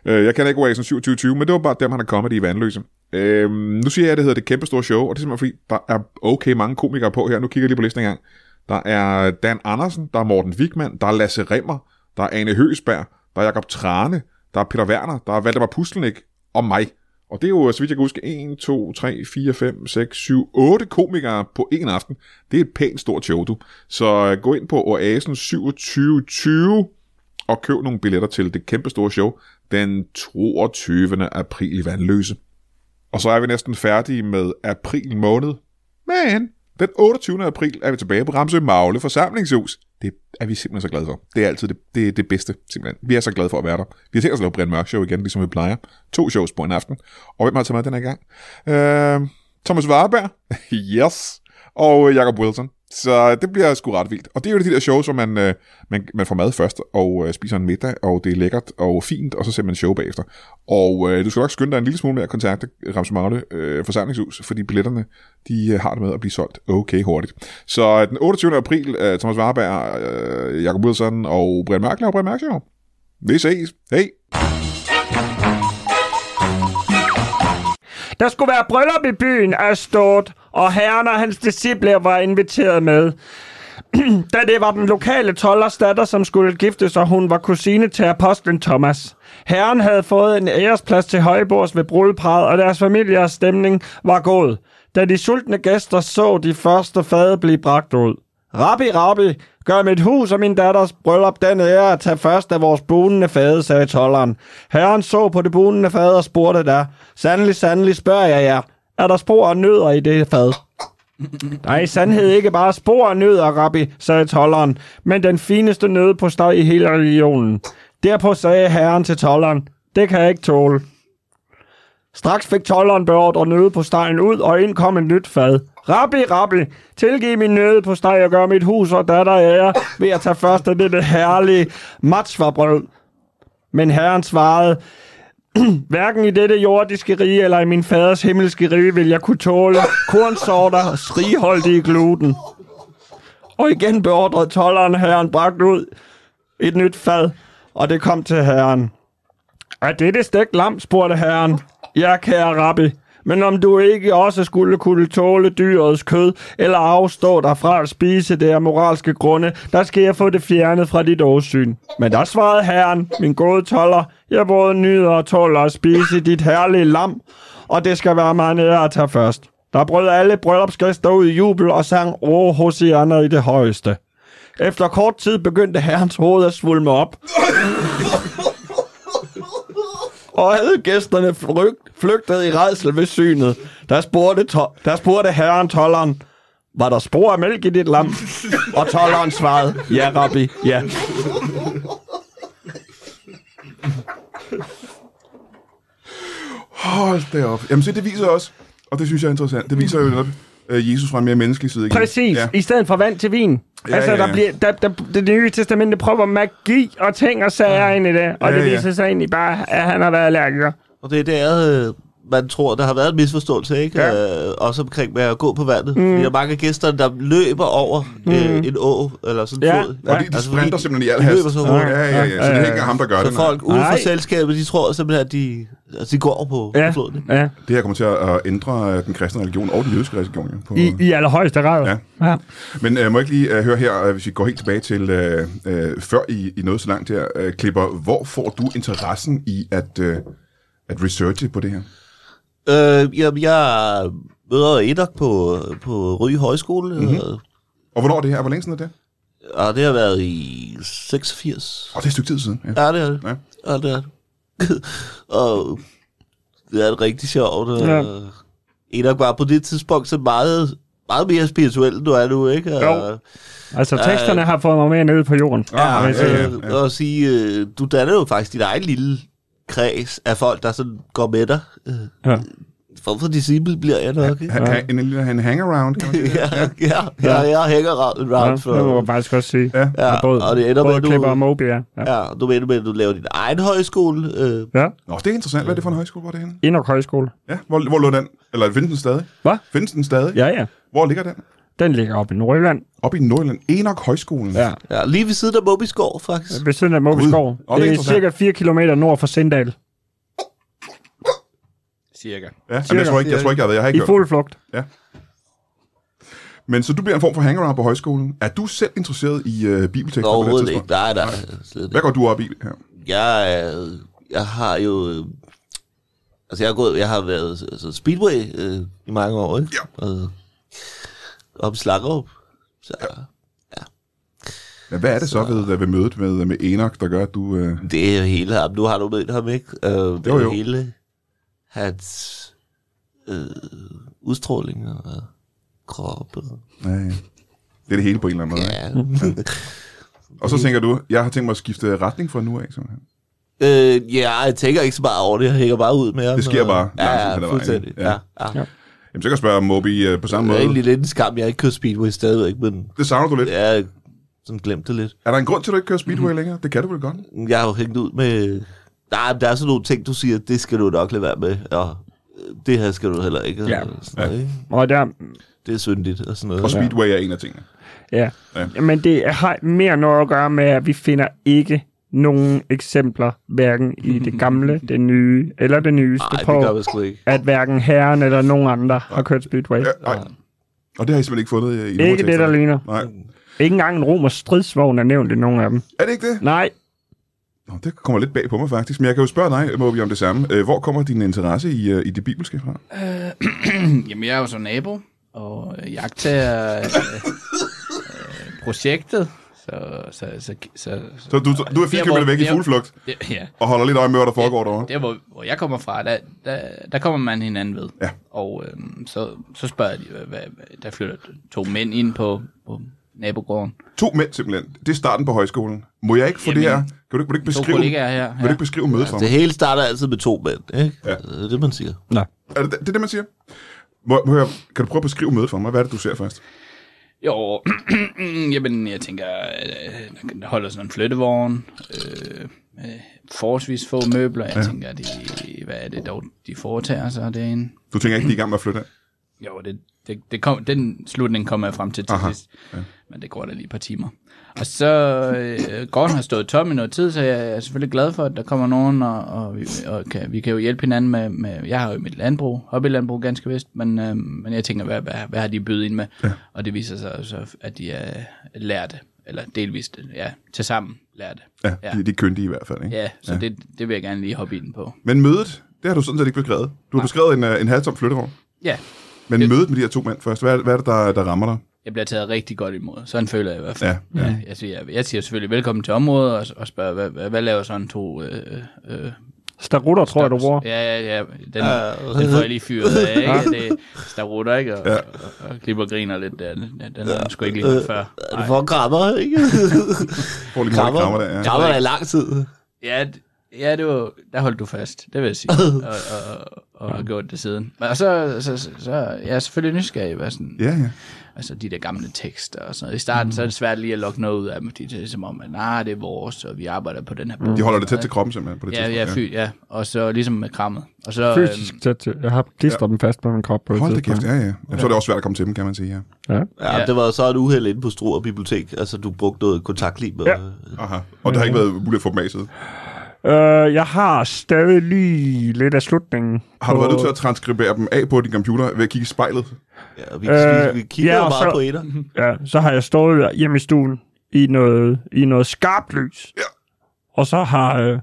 S5: Øh, Jeg kan ikke Oasen 2720, men det var bare dem, han har comedy i Vandløse. Øhm, nu siger jeg, at det hedder det kæmpe store show, og det er simpelthen fordi, der er okay mange komikere på her. Nu kigger jeg lige på listen en gang. Der er Dan Andersen, der er Morten Wigman, der er Lasse Remmer, der er Ane Høsberg, der er Jakob Trane, der er Peter Werner, der er Valdemar Pustelnik og mig. Og det er jo, så vidt jeg kan huske, 1, 2, 3, 4, 5, 6, 7, 8 komikere på en aften. Det er et pænt stort show, du. Så øh, gå ind på Oasen 2720 og køb nogle billetter til det kæmpe store show den 22. april i Vandløse. Og så er vi næsten færdige med april måned. Men den 28. april er vi tilbage på Ramsø Magle forsamlingshus. Det er vi simpelthen så glade for. Det er altid det, det, er det bedste, simpelthen. Vi er så glade for at være der. Vi har tænkt os at lave Brian Mørk Show igen, ligesom vi plejer. To shows på en aften. Og hvem har taget med den her gang? Øh, Thomas Warberg. yes. Og øh, Jacob Wilson. Så øh, det bliver sgu ret vildt. Og det er jo de der shows, hvor man, øh, man, man får mad først, og øh, spiser en middag, og det er lækkert og fint, og så ser man show bagefter. Og øh, du skal nok skynde dig en lille smule med at kontakte Ramse Magle øh, forsamlingshus, fordi billetterne de øh, har det med at blive solgt okay hurtigt. Så øh, den 28. april, øh, Thomas Warberg, øh, Jacob Wilson og Brian Mærkler og Brian Mærk Show. Vi ses. Hej.
S3: Der skulle være bryllup i byen af Stort, og herren og hans disciple var inviteret med. da det var den lokale tollers datter, som skulle giftes, og hun var kusine til apostlen Thomas. Herren havde fået en æresplads til højbords ved bruddeparret, og deres familiers stemning var god, da de sultne gæster så de første fade blive bragt ud. Rabbi, rabbi, gør mit hus og min datters bryllup den ære at tage først af vores bunende fade, sagde tolleren. Herren så på det bunende fade og spurgte der, sandelig, sandelig spørger jeg jer, er der spor og nødder i det fad? Nej, sandhed ikke bare spor og nødder, rabbi, sagde tolleren, men den fineste nød på steg i hele regionen. Derpå sagde herren til tolleren, det kan jeg ikke tåle. Straks fik tolleren beordret nøde på stegen ud, og ind kom et nyt fad. Rabbi, rabbi, tilgiv min nøde på steg og gør mit hus og datter ære ved at tage først af dette herlige matsvarbrød. Men herren svarede, Hverken i dette jordiske rige eller i min faders himmelske rige vil jeg kunne tåle kornsorter og strigholdige gluten. Og igen beordrede tolleren herren bragt ud et nyt fad, og det kom til herren. Er dette stegt lam, spurgte herren. Ja, kære rabbi, men om du ikke også skulle kunne tåle dyrets kød, eller afstå dig fra at spise det af moralske grunde, der skal jeg få det fjernet fra dit åsyn. Men der svarede herren, min gode toller, jeg både nyder og tåler at spise dit herlige lam, og det skal være mig nede at tage først. Der brød alle bryllupsgæster ud i jubel og sang O Hosianna i det højeste. Efter kort tid begyndte herrens hoved at svulme op, og havde gæsterne flygt, flygtet i redsel ved synet. Der spurgte, to- der spurgte herren tolleren, var der spor af mælk i dit lam? Og tolleren svarede, ja, rabbi, ja.
S1: Hold da op. Jamen se, det viser også, og det synes jeg er interessant, det viser jo netop øh, Jesus fra en mere menneskelig side. igen.
S3: Præcis, ja. i stedet for vand til vin. Ja, altså, ja, ja. Der bliver, der, der, det nye testamente prøver magi og ting og sager ja. ind i det, og
S1: Ja,
S3: ja, det
S1: ja.
S3: viser sig egentlig bare, at han har været allergiker.
S2: Og det er der, øh, man tror, der har været en misforståelse, ikke? Ja. Øh, også omkring med at gå på vandet. Mm. Fordi der er mange af gæsterne, der løber over øh, en å, eller sådan en
S3: Mm. Ja.
S2: flod.
S3: Ja.
S1: Altså, Fordi de sprinter
S2: fordi
S1: simpelthen i al
S2: de
S1: hast.
S2: løber så hurtigt.
S1: Ja, ja, ja. Så det er ikke engang ham, der gør
S2: Så
S1: det. nej.
S2: folk ude for
S3: Nej.
S2: selskabet, de tror simpelthen, at de, altså, de går over på, ja.
S3: Ja,
S2: på floden. ikke?
S3: ja.
S1: Det her kommer til at at ændre øh, den kristne religion og den jødiske religion. jo, På,
S3: I, i allerhøjeste grad.
S1: Mm. Ja.
S3: ja.
S1: Men øh, må jeg ikke lige øh, høre her, øh, hvis vi går helt tilbage til, øh, øh, før I, I nåede så langt her, øh, Klipper, hvor får du interessen i at, øh, at researche på det her?
S2: Øh, jamen, jeg møder Enoch på, på Ryge Højskole,
S1: Mhm.
S2: mm-hmm. og,
S1: Og hvornår er det her? Hvor længe siden er det?
S2: og det har været i 86.
S1: Åh, oh, det er et stykke tid siden. Ja.
S2: Ja, det er det.
S1: Ja.
S2: Ja, det er det. og det er det rigtig sjovt. Og
S3: Ja.
S2: ja. Enoch var på det tidspunkt så meget, meget mere spirituel, end du er nu, ikke? Og,
S3: Jo. Altså, teksterne har fået mig mere nede på jorden.
S1: Ah,
S3: vil jeg
S1: ja,
S3: sige.
S1: ja.
S2: Øh, Og sige, øh, du danner jo faktisk din egen lille kreds af folk, der sådan går med dig. Øh,
S3: Ja.
S2: Form for disciple bliver jeg nok, ikke?
S1: Han, ja. en lille han hangaround, kan man sige.
S2: Ja, ja, ja, jeg hænger round,
S3: Ja,
S2: round
S3: det må
S2: for...
S3: jeg faktisk også sige.
S1: Ja.
S2: Ja,
S3: både,
S2: og det ender med,
S3: både
S2: at du-
S3: Klipper og Moby, ja. ja.
S2: Ja, du mener med, at du laver din egen højskole. Øh,
S3: ja.
S1: Nå, det er interessant. Hvad er det for en højskole, hvor er det henne?
S3: Indok Højskole.
S1: Ja, hvor, hvor lå den? Eller findes den stadig?
S3: Hvad?
S1: Findes den stadig?
S3: Ja, ja.
S1: Hvor ligger den?
S3: Den ligger oppe i Nordjylland.
S1: Oppe i Nordjylland. Enoch Højskolen.
S3: Ja.
S2: ja, lige ved siden af Mobis gård, faktisk.
S3: Ved siden af Moby
S1: Gud.
S3: Skov.
S1: Nå, det er
S3: Det er
S1: interessant.
S3: cirka 4 km nord for Sindal.
S4: Cirka.
S1: ja. Jamen, jeg, tror ikke, jeg tror ikke, jeg har været. Jeg har
S3: I
S1: ikke hørt.
S3: fuld flugt.
S1: Men så du bliver en form for hangaround på højskolen. Er du selv interesseret i øh, bibeltekster på det her
S2: Overhovedet ikke.
S1: tidspunkt?
S2: Nej, nej. slet ikke.
S1: Hvad går du op i her?
S2: Jeg, er- jeg har jo... øh, Altså, jeg har, gået, jeg har været altså, Speedway øh, i mange år, ikke?
S1: Ja.
S2: Og, op i Slagrup. Så,
S1: Ja, hvad er det så, ved, øh, ved mødet med, med Enoch, der gør, at du... Øh,
S2: Det er jo hele ham. Nu har du mødt ham, ikke? Øh, det er
S1: jo.
S2: jo hele hans øh, udstråling og krop. Og,
S1: ja, ja. Det er det hele på en eller anden måde.
S2: ja.
S1: Og så tænker du, jeg har tænkt mig at skifte retning fra nu af, simpelthen.
S2: øh, ja, jeg tænker ikke så meget over det. Jeg hænger bare ud med ham.
S1: Det sker
S2: og-
S1: bare langsomt
S2: Ja,
S1: hen ad
S2: ja,
S1: vejen,
S2: fuldstændig.
S1: ikke?
S2: Ja,
S1: Ja.
S2: ja. ja.
S1: Jamen, så kan jeg spørge Moby øh, på samme
S2: Det er
S1: måde.
S2: egentlig lidt en skam, jeg ikke kører Speedway stadigvæk, men
S1: Det savner du lidt.
S2: jeg sådan glemte det lidt.
S1: Er der en grund til, at du ikke kører Speedway længere? Det kan du vel godt?
S2: Jeg har jo hængt ud med... Nej, men der er sådan nogle ting, du siger, det skal du nok lade være med, og øh, det her skal du heller ikke. og
S3: Ja.
S2: Sådan noget, ikke?
S3: Og der,
S2: Det er syndigt og sådan noget.
S1: Og Speedway er en af tingene.
S3: ja.
S1: Ja.
S3: ja. Men det har mere noget at gøre med, at vi finder ikke nogen eksempler, hverken i det gamle, det nye eller det nyeste
S2: Nej, det gør
S3: på,
S2: vi sgu ikke.
S3: at hverken herren eller nogen andre har kørt Speedway.
S1: Ja, nej. Og det har I simpelthen ikke fundet øh, i
S3: Ikke det, der
S1: ordteksterne?
S3: ligner.
S1: Nej.
S3: Ikke engang en romer stridsvogn er nævnt i nogen af dem.
S1: Er det ikke det?
S3: Nej,
S1: Nå, det kommer lidt bag på mig faktisk, men jeg kan jo spørge dig, Moby, om det samme. Øh, Hvor kommer din interesse i, øh, i det bibelske fra?
S4: Jamen, jeg er jo så nabo, og øh, jeg tager øh, øh, projektet, så... så, så, så, så,
S1: Så du, du er fint
S4: Der, hvor-
S1: købet væk i
S4: der-
S1: fugleflugt
S4: det, ja,
S1: og holder lidt øje med, hvad der foregår derovre.
S4: der hvor, hvor jeg kommer fra, der, der, der kommer man hinanden ved.
S1: Ja.
S4: Og øh, så, så spørger de, hvad, hvad, der flytter to mænd ind på, på nabogården.
S1: To mænd simpelthen. Det er starten på højskolen. Må jeg ikke få det her? Kan du, ikke- vil du ikke
S4: To
S1: beskrive, vil
S4: kollegaer her.
S1: du ikke beskrive mødet for
S2: Det
S1: mig?
S2: hele starter altid med to mænd, ikke?
S1: Ja.
S2: Ja. Det er det, man siger.
S1: Er det, det er det, man siger? Må, må jeg, kan du prøve at beskrive mødet for mig? Hvad er det, du ser først?
S4: Jo, jamen jeg tænker, øh, der holder sådan en flyttevogn, øh, øh, forholdsvis få møbler, jeg ja. tænker, de, hvad er det dog, de foretager sig derinde?
S1: Du tænker ikke, de er i gang med at flytte af?
S4: Jo, det, det, det kom, den slutning kom jeg frem til til
S1: Aha,
S4: sidst. Ja. Men det går da lige et par timer. Og så, øh, gården har stået tom i noget tid, så jeg er selvfølgelig glad for, at der kommer nogen, og, og, vi, og kan, vi kan jo hjælpe hinanden med, med jeg har jo mit landbrug, hobbylandbrug ganske vist, men, øh, men jeg tænker, hvad, hvad, hvad har de bydet ind med? Ja. Og det viser sig så, at de er lærte, eller delvist, ja, til sammen lærte.
S1: Ja, ja. De, de er kyndige i hvert fald, ikke?
S4: Ja, så ja. Det, det vil jeg gerne lige hoppe ind på.
S1: Men mødet, det har du sådan set ikke beskrevet. Du har beskrevet en, øh, en halvtom flyttervogn.
S4: Ja,
S1: Men mødet med de her to mænd først, hvad, er det- hvad er det, der, der rammer dig?
S4: jeg bliver taget rigtig godt imod. Sådan føler jeg i hvert fald.
S1: Ja, ja.
S4: Jeg, siger, jeg siger selvfølgelig velkommen til området og, og spørger, hvad, hvad, hvad laver sådan to... Øh, øh,
S6: Starutter, tror jeg, du bruger.
S4: ja, ja, ja. Den, uh, den får jeg lige fyret af, ikke? Det, der rutter, ikke? Og, ja. og, og, og klipper og griner lidt der. Den, den har man sgu ikke lige hørt før.
S2: Er det for krammer, ikke?
S1: Får lige krammer. krammer
S2: krammer,
S1: der, ja.
S2: krammer der i lang tid.
S4: Ja, d- ja det var, der holdt du fast, det vil jeg sige, og, og, og, og har gjort det siden. Men- Og så, så, så, så jeg er selvfølgelig nysgerrig, hvad sådan,
S1: Ja, ja.
S4: altså de der gamle tekster og sådan noget. I starten, mm. så er det svært lige at lokke noget ud af dem, fordi det er som om, at nej, det er vores, og vi arbejder på den her bog.
S1: De holder det tæt til kroppen simpelthen på det
S4: Ja,
S1: tidspunkt.
S4: ja, fy, ja. Og så ligesom med krammet. Og så,
S6: Fysisk tæt til. Jeg har klistret dem fast på min krop på et
S1: Hold da
S6: tidspunkt.
S1: kæft, ja, ja. Jamen, så er det også svært at komme til dem, kan man sige, ja.
S6: Ja.
S2: Ja,
S4: Ja.
S2: ja, det var så et uheld inde på Struer Bibliotek. Altså, du brugte noget kontaktlim.
S6: Ja.
S2: Ja.
S1: Aha. Og det har ikke været muligt at få dem af siden.
S6: Øh, jeg har stadig lige lidt af slutningen.
S1: Har du
S6: på-
S1: været nødt til at transkribere dem af på din computer ved at kigge i spejlet?
S2: ja vi,
S6: Øh,
S2: øh, vi, vi kigger
S6: ja,
S2: ja,
S6: og
S2: meget
S6: så-
S2: så... på etter.
S6: Ja, så har jeg stået hjemme i stuen i noget, i noget skarpt lys.
S1: Ja.
S6: Og så har... Øh,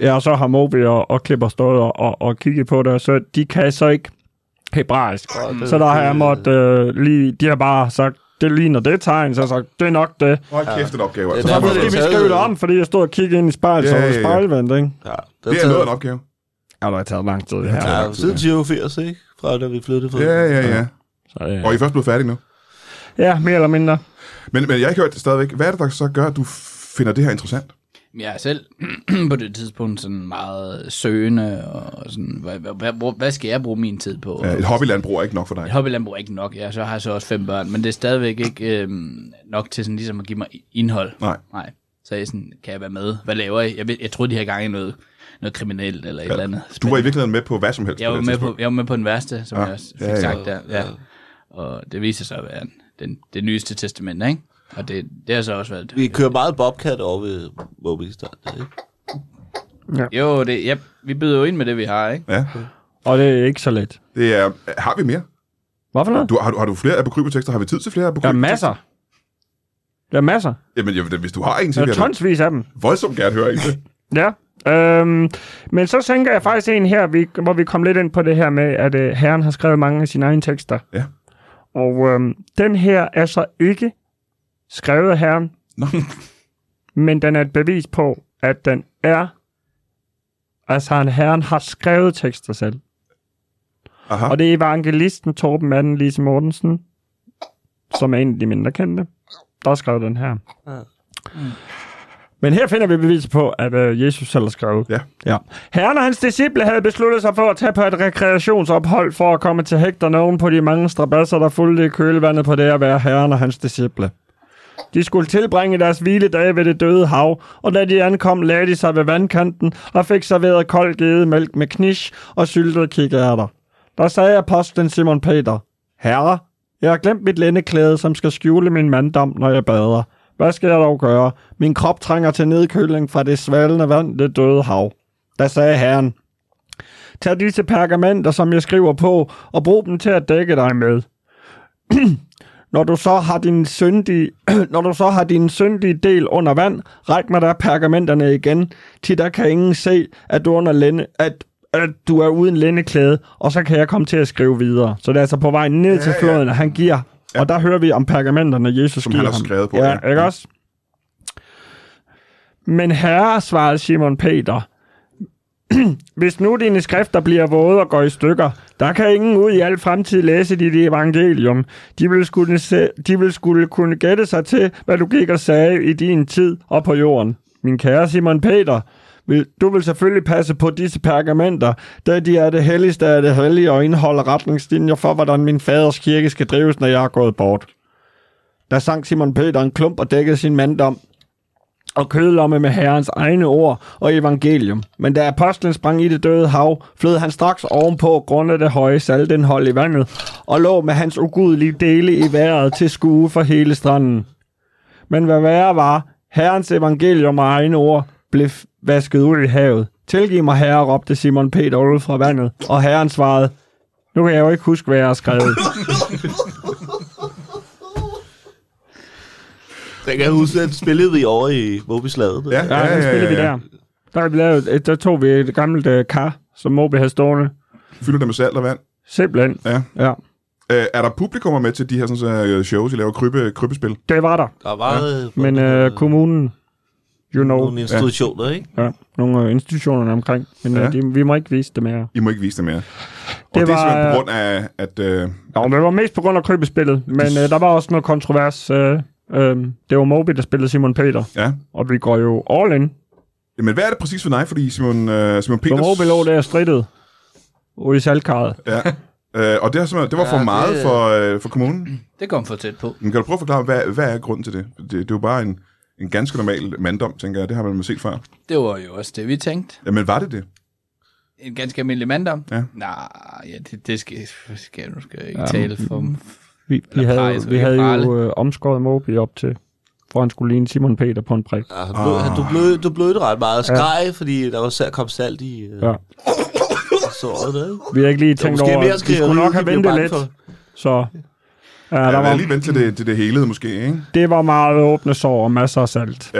S6: ja, og så har Moby og, og Klipper stået og, og, og kigget på det, så de kan så ikke hebraisk.
S2: det-
S6: Så der har jeg
S2: det-
S6: måtte øh, lige... De har bare sagt, det ligner det tegn, så har jeg sagt, det er nok det.
S1: Hold kæft, en opgave. Altså.
S2: Det er
S1: Det,
S2: derfor,
S6: Måske vi
S2: taget-
S6: skrive det om, fordi jeg stod og kiggede ind i spejlet, så
S1: Ja,
S6: var
S1: ja, ja.
S6: spejlvendt, ikke?
S2: Ja,
S1: det er noget af en opgave.
S6: Ja, det har taget lang tid, det her.
S2: Ja, siden 87, ikke? Fra da vi flyttede fra...
S1: Ja, ja, ja.
S6: Så, øh,
S1: Og I er først blevet færdige nu.
S6: ja, mere eller mindre.
S1: Men, men jeg har ikke hørt det stadigvæk. Hvad er det, der så gør, at du finder det her interessant?
S4: Jeg er øhm, selv på det tidspunkt sådan meget søgende, og sådan, hvad, hvad, hvad, hvor- hvad skal jeg bruge min tid på?
S1: Ja, et hobbylandbrug er ikke nok for dig.
S4: Et hobbylandbrug er ikke nok, ja, så har jeg så også fem børn, men det er stadigvæk ikke øhm, nok til sådan ligesom at give mig indhold.
S1: Nej.
S4: Nej. Så er jeg sådan, kan jeg være med? Hvad laver jeg? Jeg, ved, jeg troede, de her gange noget, noget kriminelt eller et ja, eller andet.
S1: Du var i virkeligheden med på hvad som helst.
S4: jeg var,
S1: det
S4: med på,
S1: tidspunkt.
S4: jeg var med på den værste, som
S1: Ja,
S4: ja, jeg også fik
S1: ja,
S4: ja,
S1: ja.
S4: ja, sagt der. Ja. Og det viser sig at være den, det nyeste testament, ikke? Og det, det har så også været...
S2: Vi kører meget Bobcat over ved Mobistart, ikke?
S4: Jo, det, ja, vi byder jo ind med det, vi har, ikke?
S1: Ja,
S6: Og det er ikke så let.
S1: det er, har vi mere?
S6: Hvorfor noget?
S1: Du, har, du, har du flere apokrybetekster? Har vi tid til flere
S6: Der er
S1: apokrybetekster?
S6: masser. Der er masser.
S1: Jamen, jeg, hvis du har en til,
S6: Der
S1: vil
S6: er
S1: jeg da
S6: tonsvis af dem.
S1: voldsomt gerne høre en til.
S6: Ja. Øhm, men så tænker jeg faktisk en her, vi, hvor vi kom lidt ind på det her med, at øh, herren har skrevet mange af sine egne tekster.
S1: Ja.
S6: Og øhm, den her er så ikke skrevet af herren,
S1: Nå.
S6: men den er et bevis på, at den er... Altså, at herren har skrevet tekster selv.
S1: Aha.
S6: Og det er evangelisten Torben Madden Lise Mortensen, som er en af de mindre kendte, der skrev den her. Men her finder vi beviser på, at øh, Jesus selv har skrevet.
S1: Ja.
S6: ja. Herren og hans disciple havde besluttet sig for at tage på et rekreationsophold for at komme til hægterne oven på de mange strabasser, der fulgte i kølvandet på det at være herren og hans disciple. De skulle tilbringe deres hviledage ved det døde hav, og da de ankom, lagde de sig ved vandkanten og fik serveret kold gedemælk med knish og syltede kikærter. Der sagde apostlen Simon Peter, Herre, jeg har glemt mit lændeklæde, som skal skjule min manddom, når jeg bader. Hvad skal jeg dog gøre? Min krop trænger til nedkøling fra det svalende vand, det døde hav. Der sagde herren, Tag disse pergamenter, som jeg skriver på, og brug dem til at dække dig med. Når du så har din syndige, når du så har din syndige del under vand, ræk mig der pergamenterne igen, til der kan ingen se, at du, under lænde, at, at du er uden lændeklæde, og så kan jeg komme til at skrive videre. Så det er altså på vej ned ja, til
S1: ja.
S6: floden, at han giver. Ja. Og der hører vi om pergamenterne, Jesus
S1: Som
S6: giver
S1: han har
S6: ham.
S1: skrevet på,
S6: Ja,
S1: ja.
S6: ikke også? Men herre, svarede Simon Peter, hvis nu dine skrifter bliver våde og går i stykker, der kan ingen ud i al fremtid læse dit evangelium. De vil, skulle se, de vil skulle kunne gætte sig til, hvad du gik og sagde i din tid og på jorden. Min kære Simon Peter, vil, du vil selvfølgelig passe på disse pergamenter, da de er det helligste af det hellige og indeholder retningslinjer for, hvordan min faders kirke skal drives, når jeg er gået bort. Der sang Simon Peter en klump og dækkede sin manddom. og kødlomme med herrens egne ord og evangelium. Men da apostlen sprang i det døde hav, flød han straks ovenpå grund af det høje saltindhold i vandet, og lå med hans ugudelige dele i vejret til skue for hele stranden. Men hvad værre var, herrens evangelium og egne ord blev f- vasket ud i havet. Tilgiv mig, herre, råbte Simon Peter ud fra vandet, og herren svarede, nu kan jeg jo ikke huske, hvad jeg har skrevet.
S2: Jeg kan huske, at spillede vi over i Mobislaget.
S1: Ja,
S6: Ja, ja, ja, spillede vi der. Der, har vi lavet, et- der tog vi et gammelt uh, kar, som Moby havde stående.
S1: Fylder det med salt og vand.
S6: Simpelthen.
S1: Ja.
S6: ja.
S1: Øh, er der publikummer med til de her sådan, så, øh, shows, I laver krybe, krybespil?
S6: Det var der.
S2: Der var øh, ja. øh,
S6: Men uh, kommunen, you know,
S2: nogle institutioner, ikke?
S6: ja, nogle øh, institutioner omkring. Men
S1: Ja.
S6: ja. de, vi må ikke vise det mere.
S1: I må ikke vise det mere. Og det,
S6: Det
S1: det er
S6: var-
S1: simpelthen på grund af, at... Øh,
S6: Jo, men det var mest på grund af krybespillet. Men uh, der var også noget kontrovers. Uh, uh, det var Moby, der spillede Simon Peter.
S1: ja.
S6: Og vi går jo all in.
S1: Men hvad er det præcis for dig? Fordi Simon, øh, Simon
S6: Så
S1: Peters...
S6: Moby lå der strittet. Ude i saltkaret.
S1: Ja. Øh, og det, har simpelthen, det var for
S4: Ja,
S1: ja,
S4: det-
S1: meget det... for, øh, for kommunen.
S4: Det kom for tæt på.
S1: Men kan du prøve at forklare, hvad, hvad er grunden til det? det? Det er jo bare en, en ganske normal manddom, tænker jeg. Det har man set før.
S4: Det var jo også det, vi tænkte.
S1: Ja, men var det det?
S4: En ganske almindelig manddom.
S1: Ja.
S4: Nej, ja, det, det skal, skal, nu skal jeg ikke tale for
S6: Vi, vi
S4: Eller
S6: havde,
S4: Paris,
S6: vi
S4: eller
S6: havde jo
S4: Prale.
S6: øh, omskåret Moby op til, for han skulle ligne Simon Peter på en prik.
S2: Ja, Ah. han blød, han, du, blød, du blødte ret meget og skreg, fordi der var sær, kom salt i øh,
S6: Ja.
S2: såret. Der, ikke?
S6: Vi har ikke lige
S2: Det var
S6: tænkt
S2: måske
S6: over,
S2: mere
S6: at vi
S2: skriveri,
S6: skulle nok
S2: de
S6: have
S2: blev
S6: ventet
S2: bange
S6: lidt.
S2: for.
S6: Så ja,
S1: Ja,
S6: der
S1: jeg var
S6: var,
S1: lige vente til det, til det helede måske, ikke?
S6: det var meget åbne sår og masser af salt.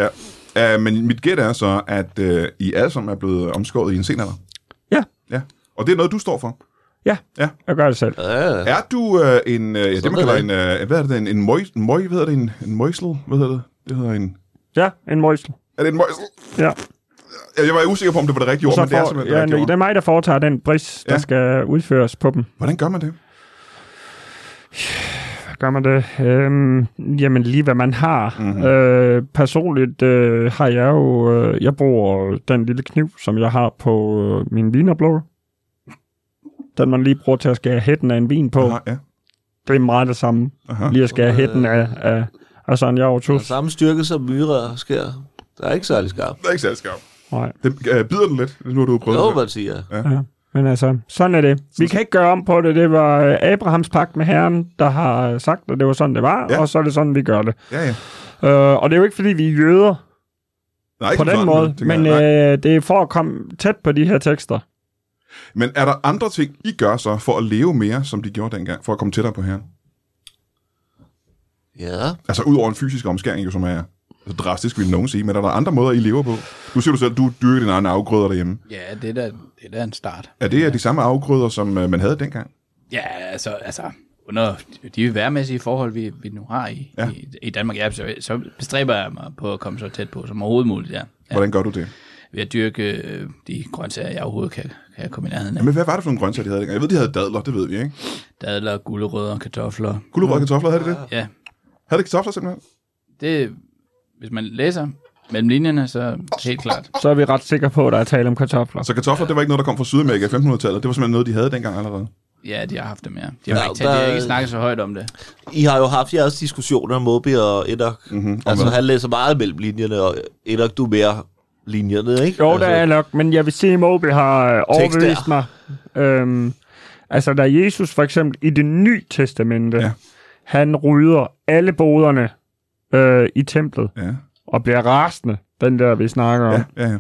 S1: Ja. Uh, men mit gæt er så, at uh, I alle sammen er blevet omskåret i en sen alder.
S6: Ja.
S1: Ja. Og det er noget, du står for.
S6: Jeg gør det selv.
S2: Ja,
S1: Er du uh, en, uh, ja, det man
S2: ved
S1: kalder
S2: jeg.
S1: en, uh, hvad er det, en, en møj, en møj, hvad hedder det, en, en møjsel, hvad hedder det? Det hedder en,
S6: Ja, en møjsel.
S1: er det en møjsel?
S6: Ja.
S1: Ja, Jeg var usikker på, om det var det rigtige ord, men det er
S6: for,
S1: simpelthen det
S6: ja,
S1: rigtige
S6: det er
S1: ord.
S6: mig, der foretager den bris, der
S1: Ja.
S6: skal udføres på dem.
S1: Hvordan gør man det?
S6: Hvad gør man det? Øhm, jamen lige hvad man har.
S1: Mhm.
S6: Mm-hmm. Øh, personligt øh, har jeg jo, øh, jeg bruger den lille kniv, som jeg har på øh, min vinerblå. Den man lige bruger til at skære hætten af en vin på.
S1: Aha, ja.
S6: Det er meget det samme.
S1: Aha.
S6: Lige at skære hætten af, af, af sådan jeg
S2: ja.
S6: overtog.
S2: Samme styrke som myrer sker. Der er ikke særlig skarp.
S1: Det er ikke særlig skarpt.
S6: Nej.
S1: Den, uh, bider den lidt, nu har du prøvet
S2: Jo,
S1: det.
S2: man siger.
S6: Men altså, sådan er det. Vi kan ikke gøre om på det. Det var øh, Abrahams pagt med Herren, der har øh, sagt, at det var sådan, det var,
S1: Ja.
S6: ja. og så er det sådan, vi gør det.
S1: Ja, ja.
S6: Øh, og det er jo ikke, fordi vi er jøder
S1: Nej,
S6: på
S1: som
S6: den
S1: sådan,
S6: måde,
S1: tænker
S6: men
S1: jeg. Nej.
S6: øh, det er for at komme tæt på de her tekster. øh-
S1: Men er der andre ting, I gør så for at leve mere, som de gjorde dengang, for at komme tættere på herren?
S2: Ja,
S1: Altså ud over en fysisk omskæring, jo, som er så drastisk, vil nogen sige, men er der andre måder, I lever på? Du siger du selv, du dyrker dine egne afgrøder derhjemme.
S4: Ja, det er da, det er da en start.
S1: Er det øh, de samme afgrøder, som øh, man havde dengang?
S4: Ja, altså, altså under de værmæssige forhold, vi, vi nu har i,
S1: Ja.
S4: ja. i, i Danmark, ja, så, så bestræber jeg mig på at komme så tæt på som overhovedet muligt, ja. ja
S1: Hvordan gør du det?
S4: ved at dyrke øh, de grøntsager, jeg overhovedet kan, kan komme i nærheden af.
S1: Jamen, hvad var det for nogle grøntsager, de havde dengang? Jeg ved, de havde dadler, det ved vi, ikke?
S4: Dadler, gulerødder, kartofler.
S1: Gulerød og kartofler, havde de det?
S4: Ja,
S1: Havde de kartofler simpelthen?
S4: det, hvis man læser mellem linjerne, så helt klart.
S6: Så er vi ret sikre på, at der er tale om kartofler.
S1: Så Altså, kartofler, det var ikke noget, der kom fra Sydamerika i 1500-tallet. Det var simpelthen noget, de havde dengang allerede.
S4: Ja, de har haft dem, ja. De har,
S2: Ja,
S4: ja, ikke, talt, de har
S2: der-
S4: ikke snakket så højt om det.
S2: I har jo haft jeres diskussioner om Moby og Enoch. Mm-hmm. Altså, han læser meget mellem linjerne, og Enoch, du er mere linjerne, ikke?
S6: Jo,
S2: altså,
S6: der er nok, men jeg vil sige, at Moby har øh, overbevist mig. Øhm, altså, der er Jesus for eksempel i det nye testamente,
S1: Ja.
S6: ja. han rydder alle boderne øh, i templet
S1: Ja,
S6: og bliver rasende, den der, vi snakker om.
S1: ja, ja.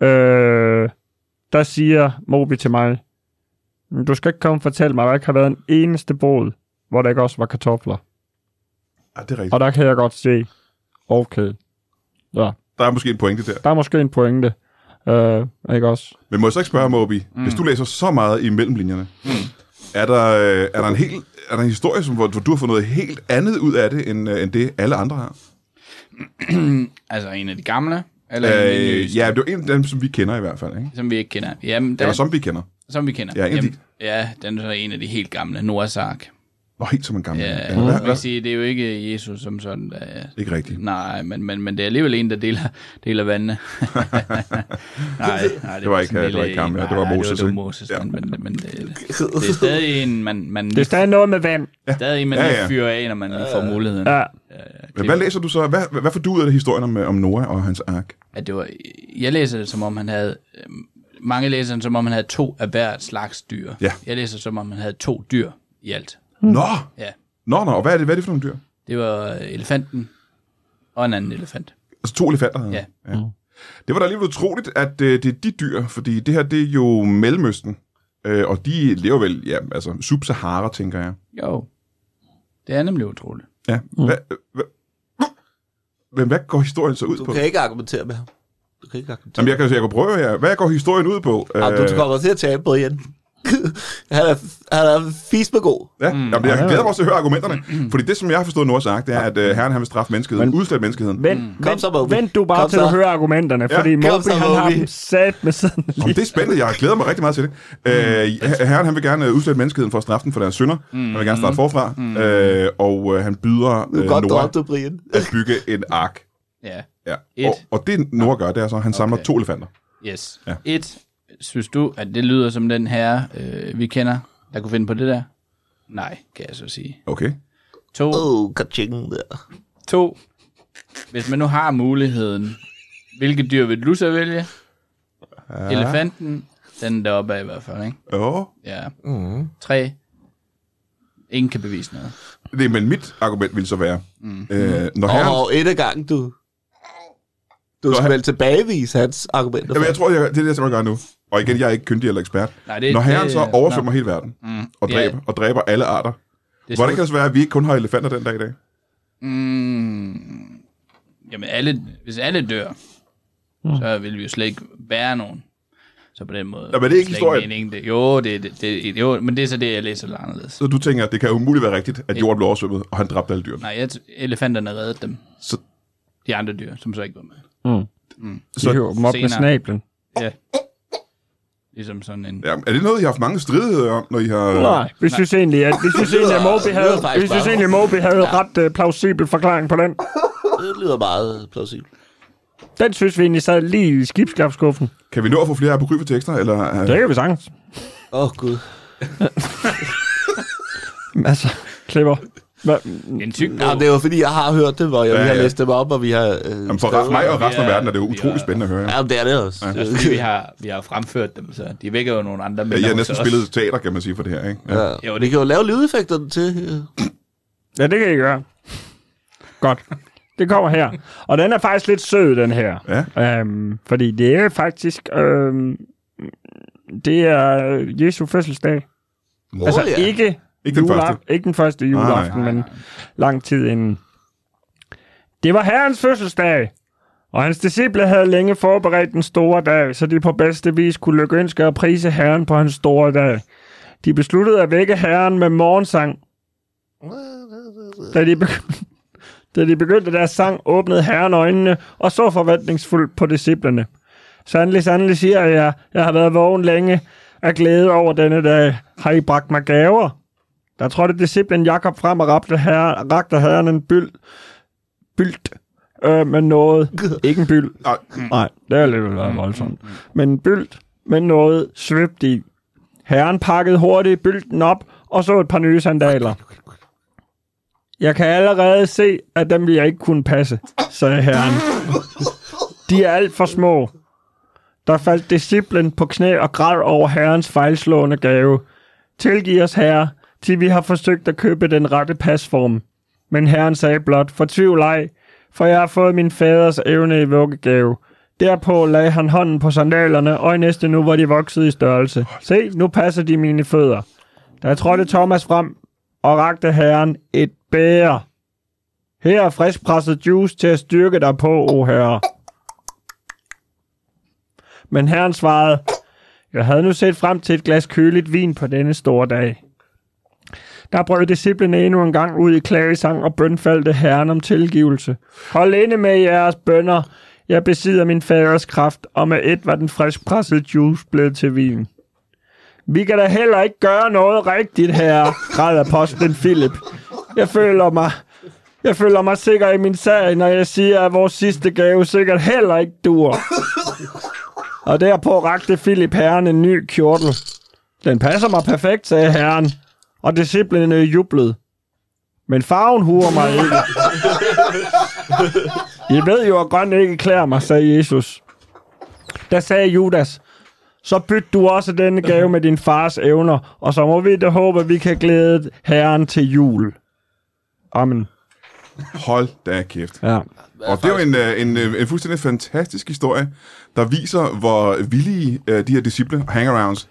S1: ja.
S6: Øh, der siger Moby til mig, du skal ikke komme og fortælle mig, at der ikke har været en eneste bod, hvor der ikke også var kartofler.
S1: ja det er rigtigt.
S6: Og der kan jeg godt se, okay,
S1: Der er måske en pointe der.
S6: der er måske en pointe. Øh, ikke også?
S1: Men må jeg så ikke spørge, Moby, mm. hvis du læser så meget i mellemlinjerne, mm. er, der, øh, er, der en helt, er der en historie, som, hvor, hvor du har fået noget helt andet ud af det, end, øh, end det alle andre har?
S4: Altså en af de gamle, eller øh, en af de nye,
S1: Øh, ja, det er jo en af dem, som vi kender i hvert fald, ikke?
S4: som vi ikke kender. Jamen, der,
S1: Eller som vi kender.
S4: Som vi kender.
S1: Ja, en af de-
S4: Jamen, ja, den er så en af de helt gamle, Noahs ark.
S1: Nå, helt som en gammel.
S4: Ja,
S1: hvad-
S4: man
S1: hvad-
S4: kan sige, det er jo ikke Jesus som sådan, der er...
S1: Ikke rigtigt.
S4: Nej, men, men, men det er alligevel en, der deler, deler vandene. nej, nej,
S1: Det var ikke-
S4: sådan en
S1: det var ikke
S4: lille
S1: ham, ja,
S4: en.
S1: det var
S4: Nej,
S1: Moses,
S4: Det var, det
S1: ikke?
S4: var Moses,
S1: Ja.
S4: men, men, men det, det er stadig en, man, man,
S6: Det er stadig noget med vand.
S4: stadig en, man
S1: Ja,
S4: ja,
S1: ja.
S4: ja. fyrer af, når man lige får muligheden.
S6: Ja.
S1: Men hvad læser du så? Hvad, hvad, hvad får du ud af det, historien om, øh, om Noah og hans ark?
S4: at det var, jeg læser det, som om han havde, øh, mange læser det, som om han havde to af hver slags dyr.
S1: Ja.
S4: Jeg læser det, som om han havde to dyr i alt.
S1: Nå!
S4: Ja.
S1: Nå, nå, og hvad er det, hvad er det for nogle dyr?
S4: Det var elefanten og en anden elefant.
S1: Altså to elefanter? havde han. ja. Det var da alligevel utroligt, at øh, det er de dyr, fordi det her, det er jo Mellemøsten. Øh, og de lever vel, ja, altså sub-Sahara, tænker jeg.
S4: Jo, det er nemlig utroligt.
S1: Ja. Mm. Hva, hva, men hvad går historien så ud
S2: Du
S1: på?
S2: kan ikke argumentere med ham. Du kan ikke argumentere.
S1: Jamen, jeg kan, jeg kan prøve jer. Hvad går historien ud på?
S2: Jamen, Ah, du kommer til at tabe på igen. han er, han er fis med god.
S1: Ja, mm, jamen, jeg glæder mig også til at høre argumenterne. Fordi det, som jeg har forstået nu har sagt, det er, at øh, herren han vil straffe menneskeheden, men, udslætte menneskeheden. Men,
S6: Vent,
S2: Mm. Kom så, Moby.
S6: vent, vent du bare
S2: Kom
S6: til
S2: så.
S6: at høre argumenterne,
S1: Ja,
S6: fordi
S1: kom
S6: Moby,
S2: så,
S6: han har
S2: Moby.
S6: dem sat med sådan
S1: Om det er spændende, jeg glæder mig rigtig meget til det. Øh, herren han vil gerne øh, udslætte menneskeheden for at straffe den for deres synder. Mm, han vil gerne starte forfra. Mm, øh, og øh, han byder
S2: Du
S1: øh,
S2: er godt
S1: Noah
S2: drømt, du, Brian.
S1: at bygge en ark.
S4: Ja,
S1: Ja.
S4: Et.
S1: Og, og det Noah gør, det er så, at han samler
S4: Okay.
S1: to elefanter.
S4: yes.
S1: Ja.
S4: Et, synes du, at det lyder som den her, øh, vi kender, der kunne finde på det der? Nej, kan jeg så sige.
S1: Okay.
S4: To,
S2: Oh, kaching der.
S4: to. hvis man nu har muligheden, hvilke dyr vil du så vælge? Ja. Elefanten, den deroppe af i hvert fald, ikke?
S1: Oh.
S4: Ja. Mm. Tre. Ingen kan bevise noget.
S1: Det, men mit argument ville så være, mm. øh, når herren...
S2: Og oh, et af gangen, du. Du skal
S1: han-
S2: vel tilbagevise hans argumenter.
S1: Jamen,
S2: for-
S1: jeg tror, jeg, det er det, jeg simpelthen gør nu. Og igen, jeg er ikke kyndig eller ekspert.
S4: Nej, det-
S1: Når herren
S4: det-
S1: så oversvømmer hele verden
S4: Mm.
S1: og
S4: Det er-
S1: dræber, og dræber alle arter,
S4: Det er
S1: hvordan
S4: Hvordan
S1: kan det så være, at vi ikke kun har elefanter den dag i dag?
S4: Mm. Jamen, alle, hvis alle dør, så vil vi jo slet ikke være nogen. Så på den måde...
S1: Nå, men det er ikke
S4: slet
S1: historien.
S4: meningen, det, jo, det, det, det, jo, men det er så det, jeg læser lidt anderledes.
S1: Så du tænker, at det kan umuligt være rigtigt, at jorden blev oversvømmet, og han dræbte alle dyrene.
S4: Nej, jeg, t- elefanterne reddede dem.
S1: Så-
S4: De andre dyr, som så ikke var med.
S6: De hører dem op med
S4: senere.
S6: snablen.
S4: Ja. Ligesom sådan en...
S1: Ja, er det noget, I har haft mange stridigheder om, når I har...
S6: Nej, vi synes egentlig, at, vi synes egentlig, at Moby
S2: lyder
S6: havde,
S2: faktisk
S6: vi synes
S2: bare-
S6: egentlig, Moby havde ret øh, plausibel forklaring på den.
S2: Det lyder meget plausibelt.
S6: Den synes vi egentlig sad lige i skibskabsskuffen.
S1: Kan vi nå at få flere apokryfe tekster? Eller, øh,
S6: Det kan vi sagtens.
S2: Åh, oh, Gud.
S6: Altså, klipper. Hva?
S4: En tyk
S2: Nå, det var fordi, jeg har hørt det, hvor jeg, ja,
S1: Ja,
S2: vi har
S1: ja.
S2: læst dem op, og vi har... Øh,
S1: jamen, for
S2: skrevet-
S1: mig og resten af
S4: Ja,
S1: verden er det jo
S4: vi
S1: utrolig
S4: er-
S1: spændende at høre.
S2: Ja, det er det også.
S1: Ja.
S2: Ja.
S4: Fordi Altså, vi har, vi har fremført dem, så de vækker jo nogle andre minder
S1: Jeg har
S4: hos
S1: næsten
S4: os.
S1: spillet teater, kan man sige, for det her, ikke?
S2: Ja. Jo, det kan jo lave lydeffekterne til. øh.
S6: Ja, det kan I gøre. Godt. Det kommer her. Og den er faktisk lidt sød, den her. Ja. Øhm, fordi det er faktisk... Øhm, det er Jesu fødselsdag.
S2: Åh,
S6: Altså
S2: ja.
S6: ikke,
S1: Ikke den
S6: jula-
S1: første.
S6: ikke den første juleaften, men lang tid inden. Det var herrens fødselsdag, og hans disciple havde længe forberedt den store dag, så de på bedste vis kunne lykønske og prise herren på hans store dag. De besluttede at vække herren med morgensang. Da de, begy- da de begyndte deres sang, åbnede herren øjnene og så forventningsfuldt på disciplerne. Sandelig, sandelig siger jeg, jeg har været vågen længe af glæde over denne dag. Har I bragt mig gaver? Der trådte disciplen Jakob frem og rapte her, rakte herren en byld, byldt øh, med noget. Ikke en byld.
S1: Nej.
S6: Nej, det er lidt været voldsomt. Men en byldt med noget svøbt i. Herren pakkede hurtigt bylden op og så et par nye sandaler. Jeg kan allerede se, at dem vil jeg ikke kunne passe, sagde herren. De er alt for små. Der faldt disciplen på knæ og græd over herrens fejlslående gave. Tilgiv os, herre, til vi har forsøgt at købe den rette pasform. Men herren sagde blot, fortvivl ej, for jeg har fået min faders evne i vuggegave. Derpå lagde han hånden på sandalerne, og i næste nu var de vokset i størrelse. Se, nu passer de mine fødder. Der trådte Thomas frem og rakte herren et bære. Her er friskpresset juice til at styrke dig på, o herre. Men herren svarede, jeg havde nu set frem til et glas køligt vin på denne store dag. Der brød disciplene endnu en gang ud i klagesang og bønfaldte herren om tilgivelse. Hold inde med jeres bønder. Jeg besidder min faders kraft, og med et var den friskpressede juice blevet til vin. Vi kan da heller ikke gøre noget rigtigt her, græd apostlen Philip. Jeg føler mig, jeg føler mig sikker i min sag, når jeg siger, at vores sidste gave sikkert heller ikke dur. Og derpå rakte Philip herren en ny kjortel. Den passer mig perfekt, sagde herren, og disciplene jublede. Men farven huer mig ikke. I ved jo, at grøn ikke klæder mig, sagde Jesus. Der sagde Judas, så byt du også denne gave med din fars evner, og så må vi da håbe, at vi kan glæde Herren til jul. Amen.
S1: Hold da kæft.
S6: Ja.
S1: Og det er jo en, øh, en, øh, en fuldstændig fantastisk historie, der viser, hvor villige øh, de her disciple hangarounds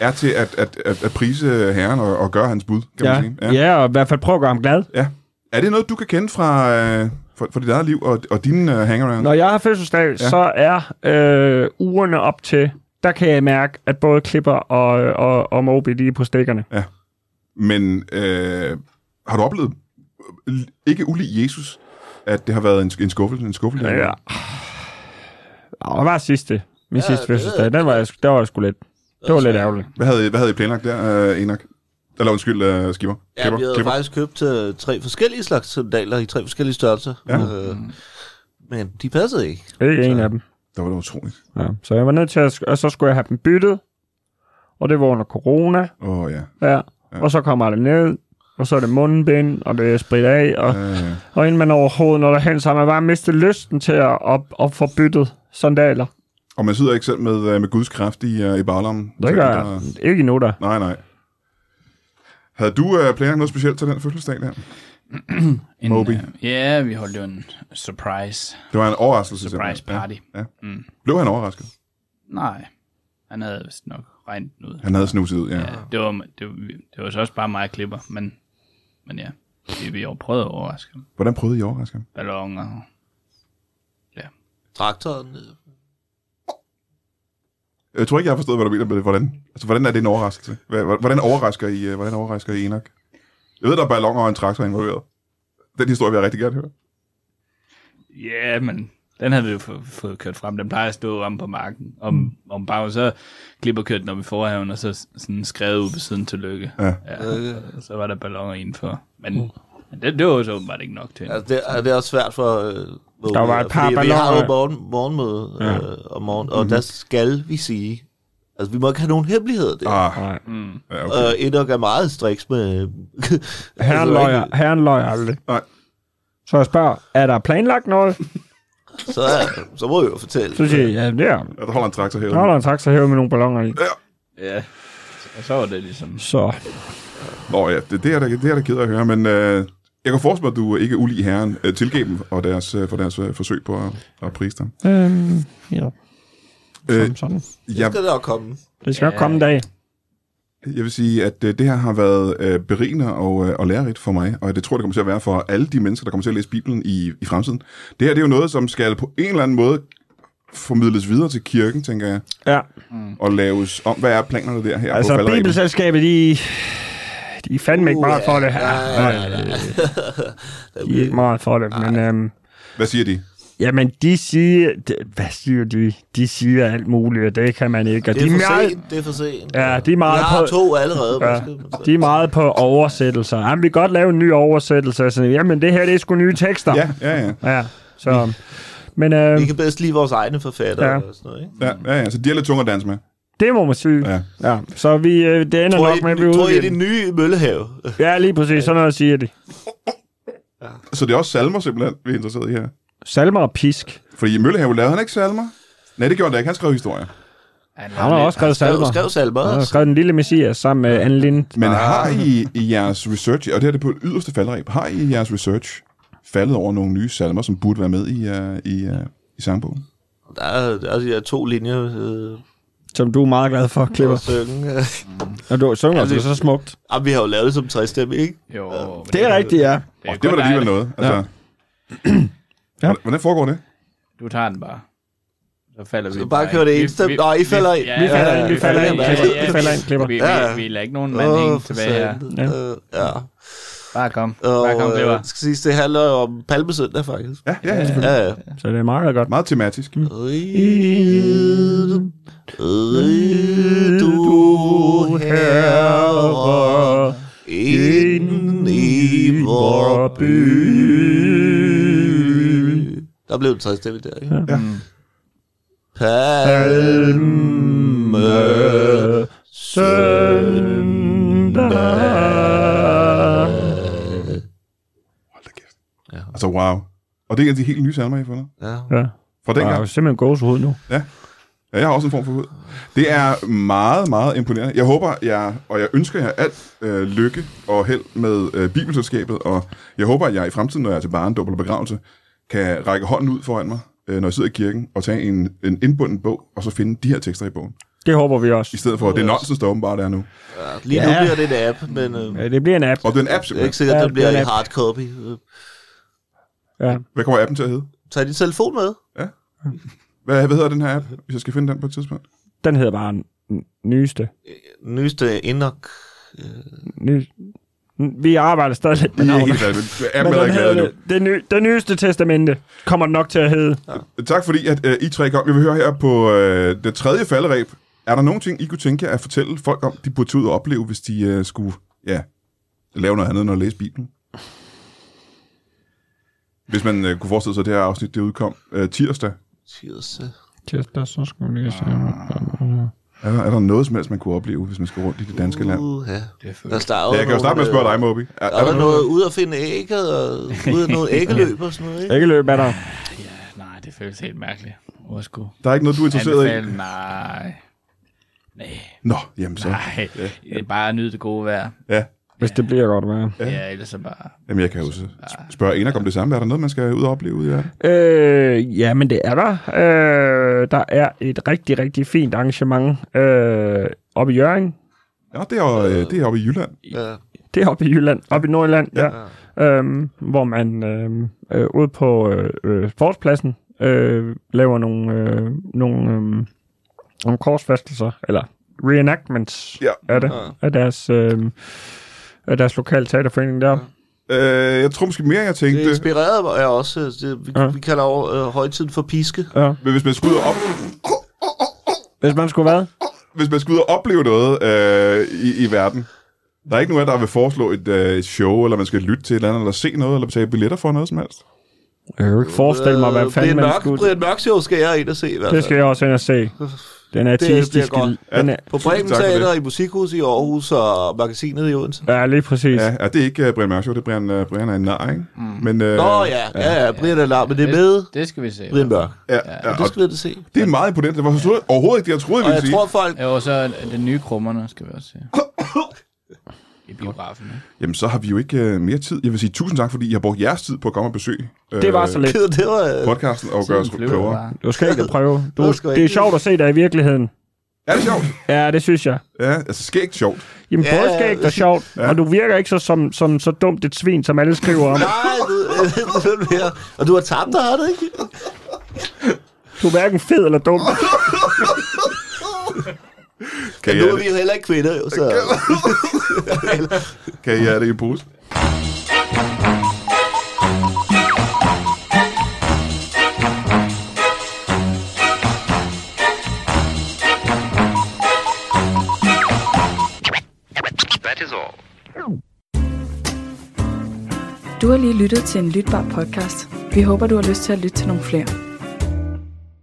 S1: er til at, at, at, at prise herren og, og gøre hans bud, kan man
S6: Ja.
S1: sige.
S6: ja, og i hvert fald prøve at gøre ham glad.
S1: ja. Er det noget, du kan kende fra, øh, fra, fra dit eget liv og, og dine øh, hangarounds?
S6: Når jeg har fødselsdag, ja. så er øh, ugerne op til, der kan jeg mærke, at både Klipper og, og, og Moby, de er på stikkerne.
S1: Men øh, har du oplevet, øh, ikke ulig Jesus, at det har været en, sk- en skuffelse? En skuffelse
S6: Ja. Øh, ah. Og hvad var sidste? Min ja, sidste
S2: det ved
S6: fødselsdag,
S2: jeg.
S6: den var jeg, sgu- der var jeg sgu lidt. Det var lidt ærgerligt.
S1: Hvad havde, I- hvad havde I planlagt der, øh, Enak? Eller undskyld, øh, Skipper.
S2: Ja, vi havde faktisk købt øh, tre forskellige slags sandaler i tre forskellige størrelser.
S1: Ja.
S2: Øh, men de passede ikke.
S6: Ikke en af dem.
S1: Der var det utroligt.
S6: Ja. Så jeg var nødt til at, sk- og så skulle jeg have dem byttet. Og det var under corona.
S1: Åh, oh, ja.
S6: Ja. Og så kommer det ned, og så er det mundbind, og det er sprit af, og,
S1: Øh,
S6: og inden man overhovedet når derhen, så har man bare mistet lysten til at op, op for byttet sandaler.
S1: og man sidder ikke selv med, øh, med Guds kraft i, øh, i baglommen?
S6: Det
S1: Så
S6: gør
S1: der-
S6: jeg ikke endnu der.
S1: Nej, nej. Havde du øh, planlagt noget specielt til den fødselsdag der?
S4: En,
S1: Moby.
S4: øh, Ja, vi holdt jo en surprise,
S1: Det var en overraskelse.
S4: surprise
S1: simpelthen.
S4: party.
S1: Ja, ja. Mm. Blev han overrasket?
S4: Nej, han havde vist nok regnet den ud.
S1: Han havde snuset ud, ja.
S4: Ja, det, var, det, var, det var så også bare mig og klipper, men, men ja, vi, vi har prøvet at overraske ham.
S1: Hvordan prøvede I at overraske ham?
S4: Balloner.
S2: Traktoren. øh,
S1: Jeg tror ikke, jeg har forstået, hvad du mener med det. Hvordan, altså, hvordan er det en overraskelse? Hva- Hvordan overrasker I, øh, hvordan overrasker I Enoch? Jeg ved, der er balloner og en traktor involveret. Den historie vil jeg rigtig gerne høre.
S4: Ja, yeah, men den havde vi jo få- fået kørt frem. Den plejer at stå om på marken. Om, mm. om bagen, så klipper kørt den op i forhaven, og så s- sådan skrevet ud på siden til lykke.
S1: Ja.
S4: ja
S2: Øh.
S4: og så var der balloner indenfor. Men,
S6: Mm.
S4: men det, det var jo så åbenbart ikke nok til.
S2: Altså, det, er, det er også svært for... Øh,
S6: Der var et par
S2: Vi har
S6: balloner. Mhm.
S2: jo morgen, morgenmøde ja. øh, om morgenen, og mm-hmm. der skal vi sige... Altså, vi må ikke have nogen hemmelighed der.
S1: Ah,
S6: Nej.
S1: ja, okay.
S2: Og Enoch er meget striks med...
S6: Herren
S2: altså,
S6: løjer, herren løjer aldrig.
S1: Nej.
S6: Så jeg spørger, er der planlagt noget?
S2: Så, er- så må vi jo fortælle.
S6: Så siger jeg, ja, det er.
S1: Ja, der holder en traktor
S6: Der er
S1: herude.
S6: der en taxa her med nogle ballonger i.
S4: Ja. Og så var det ligesom...
S6: Så
S1: Nå ja, det, det, er, da- det er da ked af at høre, men øh, jeg kan forestille mig, at du ikke er ulig herren øh, tilgav dem og deres, øh, for deres øh, forsøg på at, at prise dem.
S6: øhm, ja,
S1: Øh,
S6: som sådan.
S1: jeg,
S2: Det skal der komme.
S6: Det skal nok komme en dag.
S1: Jeg vil sige, at øh, det her har været øh, berigende og, øh, og lærerigt for mig, og det tror jeg, det kommer til at være for alle de mennesker, der kommer til at læse Bibelen i, i fremtiden. Det her det er jo noget, som skal på en eller anden måde formidles videre til kirken, tænker jeg,
S6: Ja,
S1: og laves om. Hvad er planerne der her på
S6: altså
S1: falderæbet?
S6: Bibelselskabet, de, de er fandme ikke meget for det her.
S2: Nej, nej, nej.
S6: De er ikke meget for det, men... Øhm,
S1: Hvad siger de?
S6: jamen, de siger... De, hvad siger de? De siger alt muligt, og det kan man ikke. Og
S2: Det er
S6: de, er
S2: for
S6: meget,
S2: sent, det er for sent.
S6: ja, de er
S2: Jeg
S6: meget
S2: har
S6: på...
S2: to allerede,
S6: Ja,
S2: måske. men så-
S6: de er meget på oversættelser. Jamen, vi kan godt lave en ny oversættelse. Sådan, jamen, det her, det er sgu nye tekster.
S1: Ja, ja, ja.
S6: Ja, så... Men øh,
S2: Vi kan bedst lide vores egne forfattere
S6: Ja.
S2: ja. og sådan noget, ikke?
S1: ja, ja, ja. Så de er lidt tunge at danse med.
S6: det må man sige.
S1: Ja.
S6: Ja. ja. Så vi, øh, det ender
S2: Tror
S6: nok
S2: I,
S6: med, at vi
S2: tror I det
S6: udgiver
S2: nye Møllehave?
S6: Ja, lige præcis. Sådan noget siger de.
S1: Så det er også salmer simpelthen, vi er interesseret i her.
S6: Salmer og pisk.
S1: Fordi i Møllehave lavede han ikke salmer. Nej, det gjorde han da ikke. Han skrev historier.
S4: Han
S6: Han har også skrevet salmer.
S2: Skrev, skrev Salmer
S6: Han har
S2: også.
S6: skrevet Den Lille Messias sammen med Anne Lind.
S1: Men har I i jeres research, og det her det er på det yderste faldreb, har I i jeres research faldet over nogle nye salmer, som burde være med i, uh, i, uh, i sangbogen?
S2: Der er, der er de der to linjer øh,
S6: Som du er meget glad for,
S2: at
S6: Klipper.
S2: synge.
S6: Og du synger altså så smukt.
S2: Jamen, Ah, vi har jo lavet det som træstemme, ikke?
S4: Jo, men
S6: Det er rigtigt, ja.
S1: Det, og det var da alligevel noget. Altså, ja.
S6: Ja.
S1: Hvordan foregår det?
S4: Du tager den bare. Så falder vi
S2: Så bare kører det enstemt. Nå, I falder ind.
S6: Vi falder
S4: ja,
S6: ind, vi
S4: ja,
S6: falder
S4: ja,
S6: ind,
S4: ja,
S6: Klipper.
S4: ja,
S6: Vi falder ind, Klipper.
S4: Vi,
S2: Ja,
S4: vi,
S2: ja.
S4: vi lader ikke nogen mand oh, hænge tilbage her.
S2: Ja.
S6: Ja.
S2: Øh, ja.
S4: Bare kom.
S2: Og,
S4: Bare kom, det
S2: øh,
S4: var.
S2: det skal siges, det handler jo om palmesøndag, faktisk.
S1: Ja, ja, ja. selvfølgelig.
S2: Ja, ja.
S6: Så det er meget godt.
S1: Meget tematisk.
S6: Mm.
S2: Rid, rid du herre, ind i vor by. Der blev det træstemme der, ikke? Mm.
S1: Ja.
S2: Palme søndag.
S1: Altså, wow. Og Og det er en af de helt nye salmer, jeg har fundet.
S2: Ja.
S6: Ja.
S1: Fra
S6: Der er
S1: dengang.
S6: jo simpelthen gåsehud nu.
S1: Ja, jeg har også en form for hud. Det er meget, meget imponerende. Jeg håber, jeg, og jeg ønsker jer alt øh, lykke og held med øh, Bibelselskabet, og jeg håber, at jeg i fremtiden, når jeg er til barnedåb eller begravelse, kan række hånden ud foran mig, øh, når jeg sidder i kirken, og tage en, en indbunden bog, og så finde de her tekster i bogen.
S6: Det håber vi også.
S1: I stedet for, at det er nonsens, der åbenbart er nu.
S2: ja. Lige nu
S6: Ja.
S2: bliver det en app, men øh,
S6: Ja, det bliver en app.
S1: Og det er en app,
S2: det er
S1: simpelthen.
S2: ikke sikkert,
S6: Ja,
S2: at den bliver
S6: det er
S2: i
S6: en app.
S2: hard copy. Øh,
S6: Ja.
S1: Hvad kommer appen til at hedde?
S2: Tag din telefon med.
S1: Hvad, hvad hedder den her app, hvis jeg skal finde den på et tidspunkt?
S6: Den hedder bare den nyeste.
S2: Nyeste Inok.
S6: Ny... Vi arbejder stadig lidt med
S1: Det er
S6: navnet.
S1: helt vanvittigt.
S6: Men
S1: Appen er der
S6: den
S1: ikke lavet endnu.
S6: hedder det, ny, det nyeste testamente kommer den nok til at hedde.
S1: Tak fordi, at øh, I tre kom. Jeg vil høre her på øh, det tredje falderæb. Er der nogen ting, I kunne tænke jer at fortælle folk om, de burde tage ud og opleve, hvis de øh, skulle ja, lave noget andet end at læse Bibelen? Hvis man øh, kunne forestille sig, at det her afsnit det udkom øh, tirsdag.
S2: Tirse.
S6: Tirsdag, så skal vi lige se.
S1: Er der, er der noget som helst, man kunne opleve, hvis man skulle rundt i det danske land?
S2: Uh, ja.
S4: Det er
S2: Der
S4: følelsen.
S2: starter
S1: Ja, jeg kan jo starte med at spørge dig, Moby. Er,
S2: Der øh, er der noget ud at finde ægget, og ud af noget æggeløb og sådan noget, ikke?
S6: Ikke løb af dig.
S4: Nej, det føles helt mærkeligt. Hvor skulle
S1: der er ikke noget, du er interesseret i?
S4: anbefale? Nej. Nej,
S1: Nå, jamen så.
S4: nej. Det er bare at nyde det gode vejr.
S1: Ja.
S6: Hvis det bliver godt vejr.
S1: Ja.
S4: Ja, ja ellers så bare...
S1: Jamen, jeg kan jo så spørge Enak om det samme. Er der noget, man skal ud og opleve ude i verden?
S6: Øh, ja, men det er der. Øh, der er et rigtig, rigtig fint arrangement øh, oppe i Jørgen.
S1: Ja, det er, jo, øh, det er oppe i Jylland.
S2: Ja.
S6: Det er oppe i Jylland, oppe i Nordjylland, ja. Øhm, hvor man øhm, øh, ude på øh, øh, sportspladsen øh, laver nogle, øh, nogle, øh, nogle korsfæstelser, eller reenactments
S1: Ja.
S6: af det, af deres, øh, af deres lokale teaterforening der.
S1: Øh, jeg tror måske mere, jeg
S2: Det
S1: tænkte...
S2: inspirerede mig jeg også. øh, Det, vi,
S6: Ja.
S2: vi kalder over, øh, højtiden for piske.
S6: Ja.
S1: Men hvis man skulle ud og, op,
S6: Hvis man skulle hvad?
S1: hvis man skulle ud og opleve noget øh, i, i verden, der er ikke nogen af jer, der vil foreslå et, øh, et show, eller man skal lytte til et eller andet, eller se noget, eller betale billetter for noget som helst.
S6: Jeg kan jo ikke forestille mig, hvad
S2: Øh, Brian
S6: fanden man
S2: Mørk,
S6: skulle...
S2: Brian Mørk show skal jeg ind og se i hvert fald.
S6: Det skal jeg også ind og se. Den artistiske...
S2: godt.
S6: Den er,
S2: På Bremen
S1: Tak for
S2: Teater i Musikhus i Aarhus og magasinet i Odense.
S6: ja, lige præcis.
S1: Ja, ja det er ikke øh, Brian Mørk Show, det er Brian, øh, Brian er en nar, ikke? Mm. Men, øh,
S2: Nå ja, ja, ja, Brian er larm, men det er med
S4: Det skal vi se.
S2: Brian Mørk.
S1: Ja,
S4: Ja,
S1: ja,
S2: Det
S1: og
S2: skal vi da se.
S1: det er meget imponerende. Det var så overhovedet ikke det, jeg troede, vi ville
S2: Og jeg
S1: sige.
S2: tror folk...
S4: Ja, og så er den nye krummerne, skal vi også se. I biografen. ikke?
S1: Jamen, så har vi jo ikke øh, mere tid. Jeg vil sige tusind tak, fordi I har brugt jeres tid på at komme og besøge øh,
S6: Det var så lidt.
S2: Det var...
S1: podcasten og gøre os
S4: Tiden flyver
S1: klogere.
S4: bare.
S6: Du skal ikke prøve. Du,
S2: Det skal jeg
S6: det er
S2: ikke.
S6: sjovt at se dig i virkeligheden.
S1: Er det sjovt?
S6: Ja, det synes jeg.
S1: Ja, altså skægt sjovt.
S6: Jamen,
S2: Ja.
S6: yeah. både skægt og sjovt, og du virker ikke så, som, som så dumt et svin, som alle skriver om.
S2: Nej, du, øh, det er og du har tabt dig, har du ikke?
S6: Du er hverken fed eller dum.
S1: Kan I
S2: Nu
S1: have
S2: er vi
S1: det,
S2: jo heller ikke kvinder, jo, så...
S1: kan I have det i posen?
S7: Du har lige lyttet til en lytbar podcast. Vi håber, du har lyst til at lytte til nogle flere.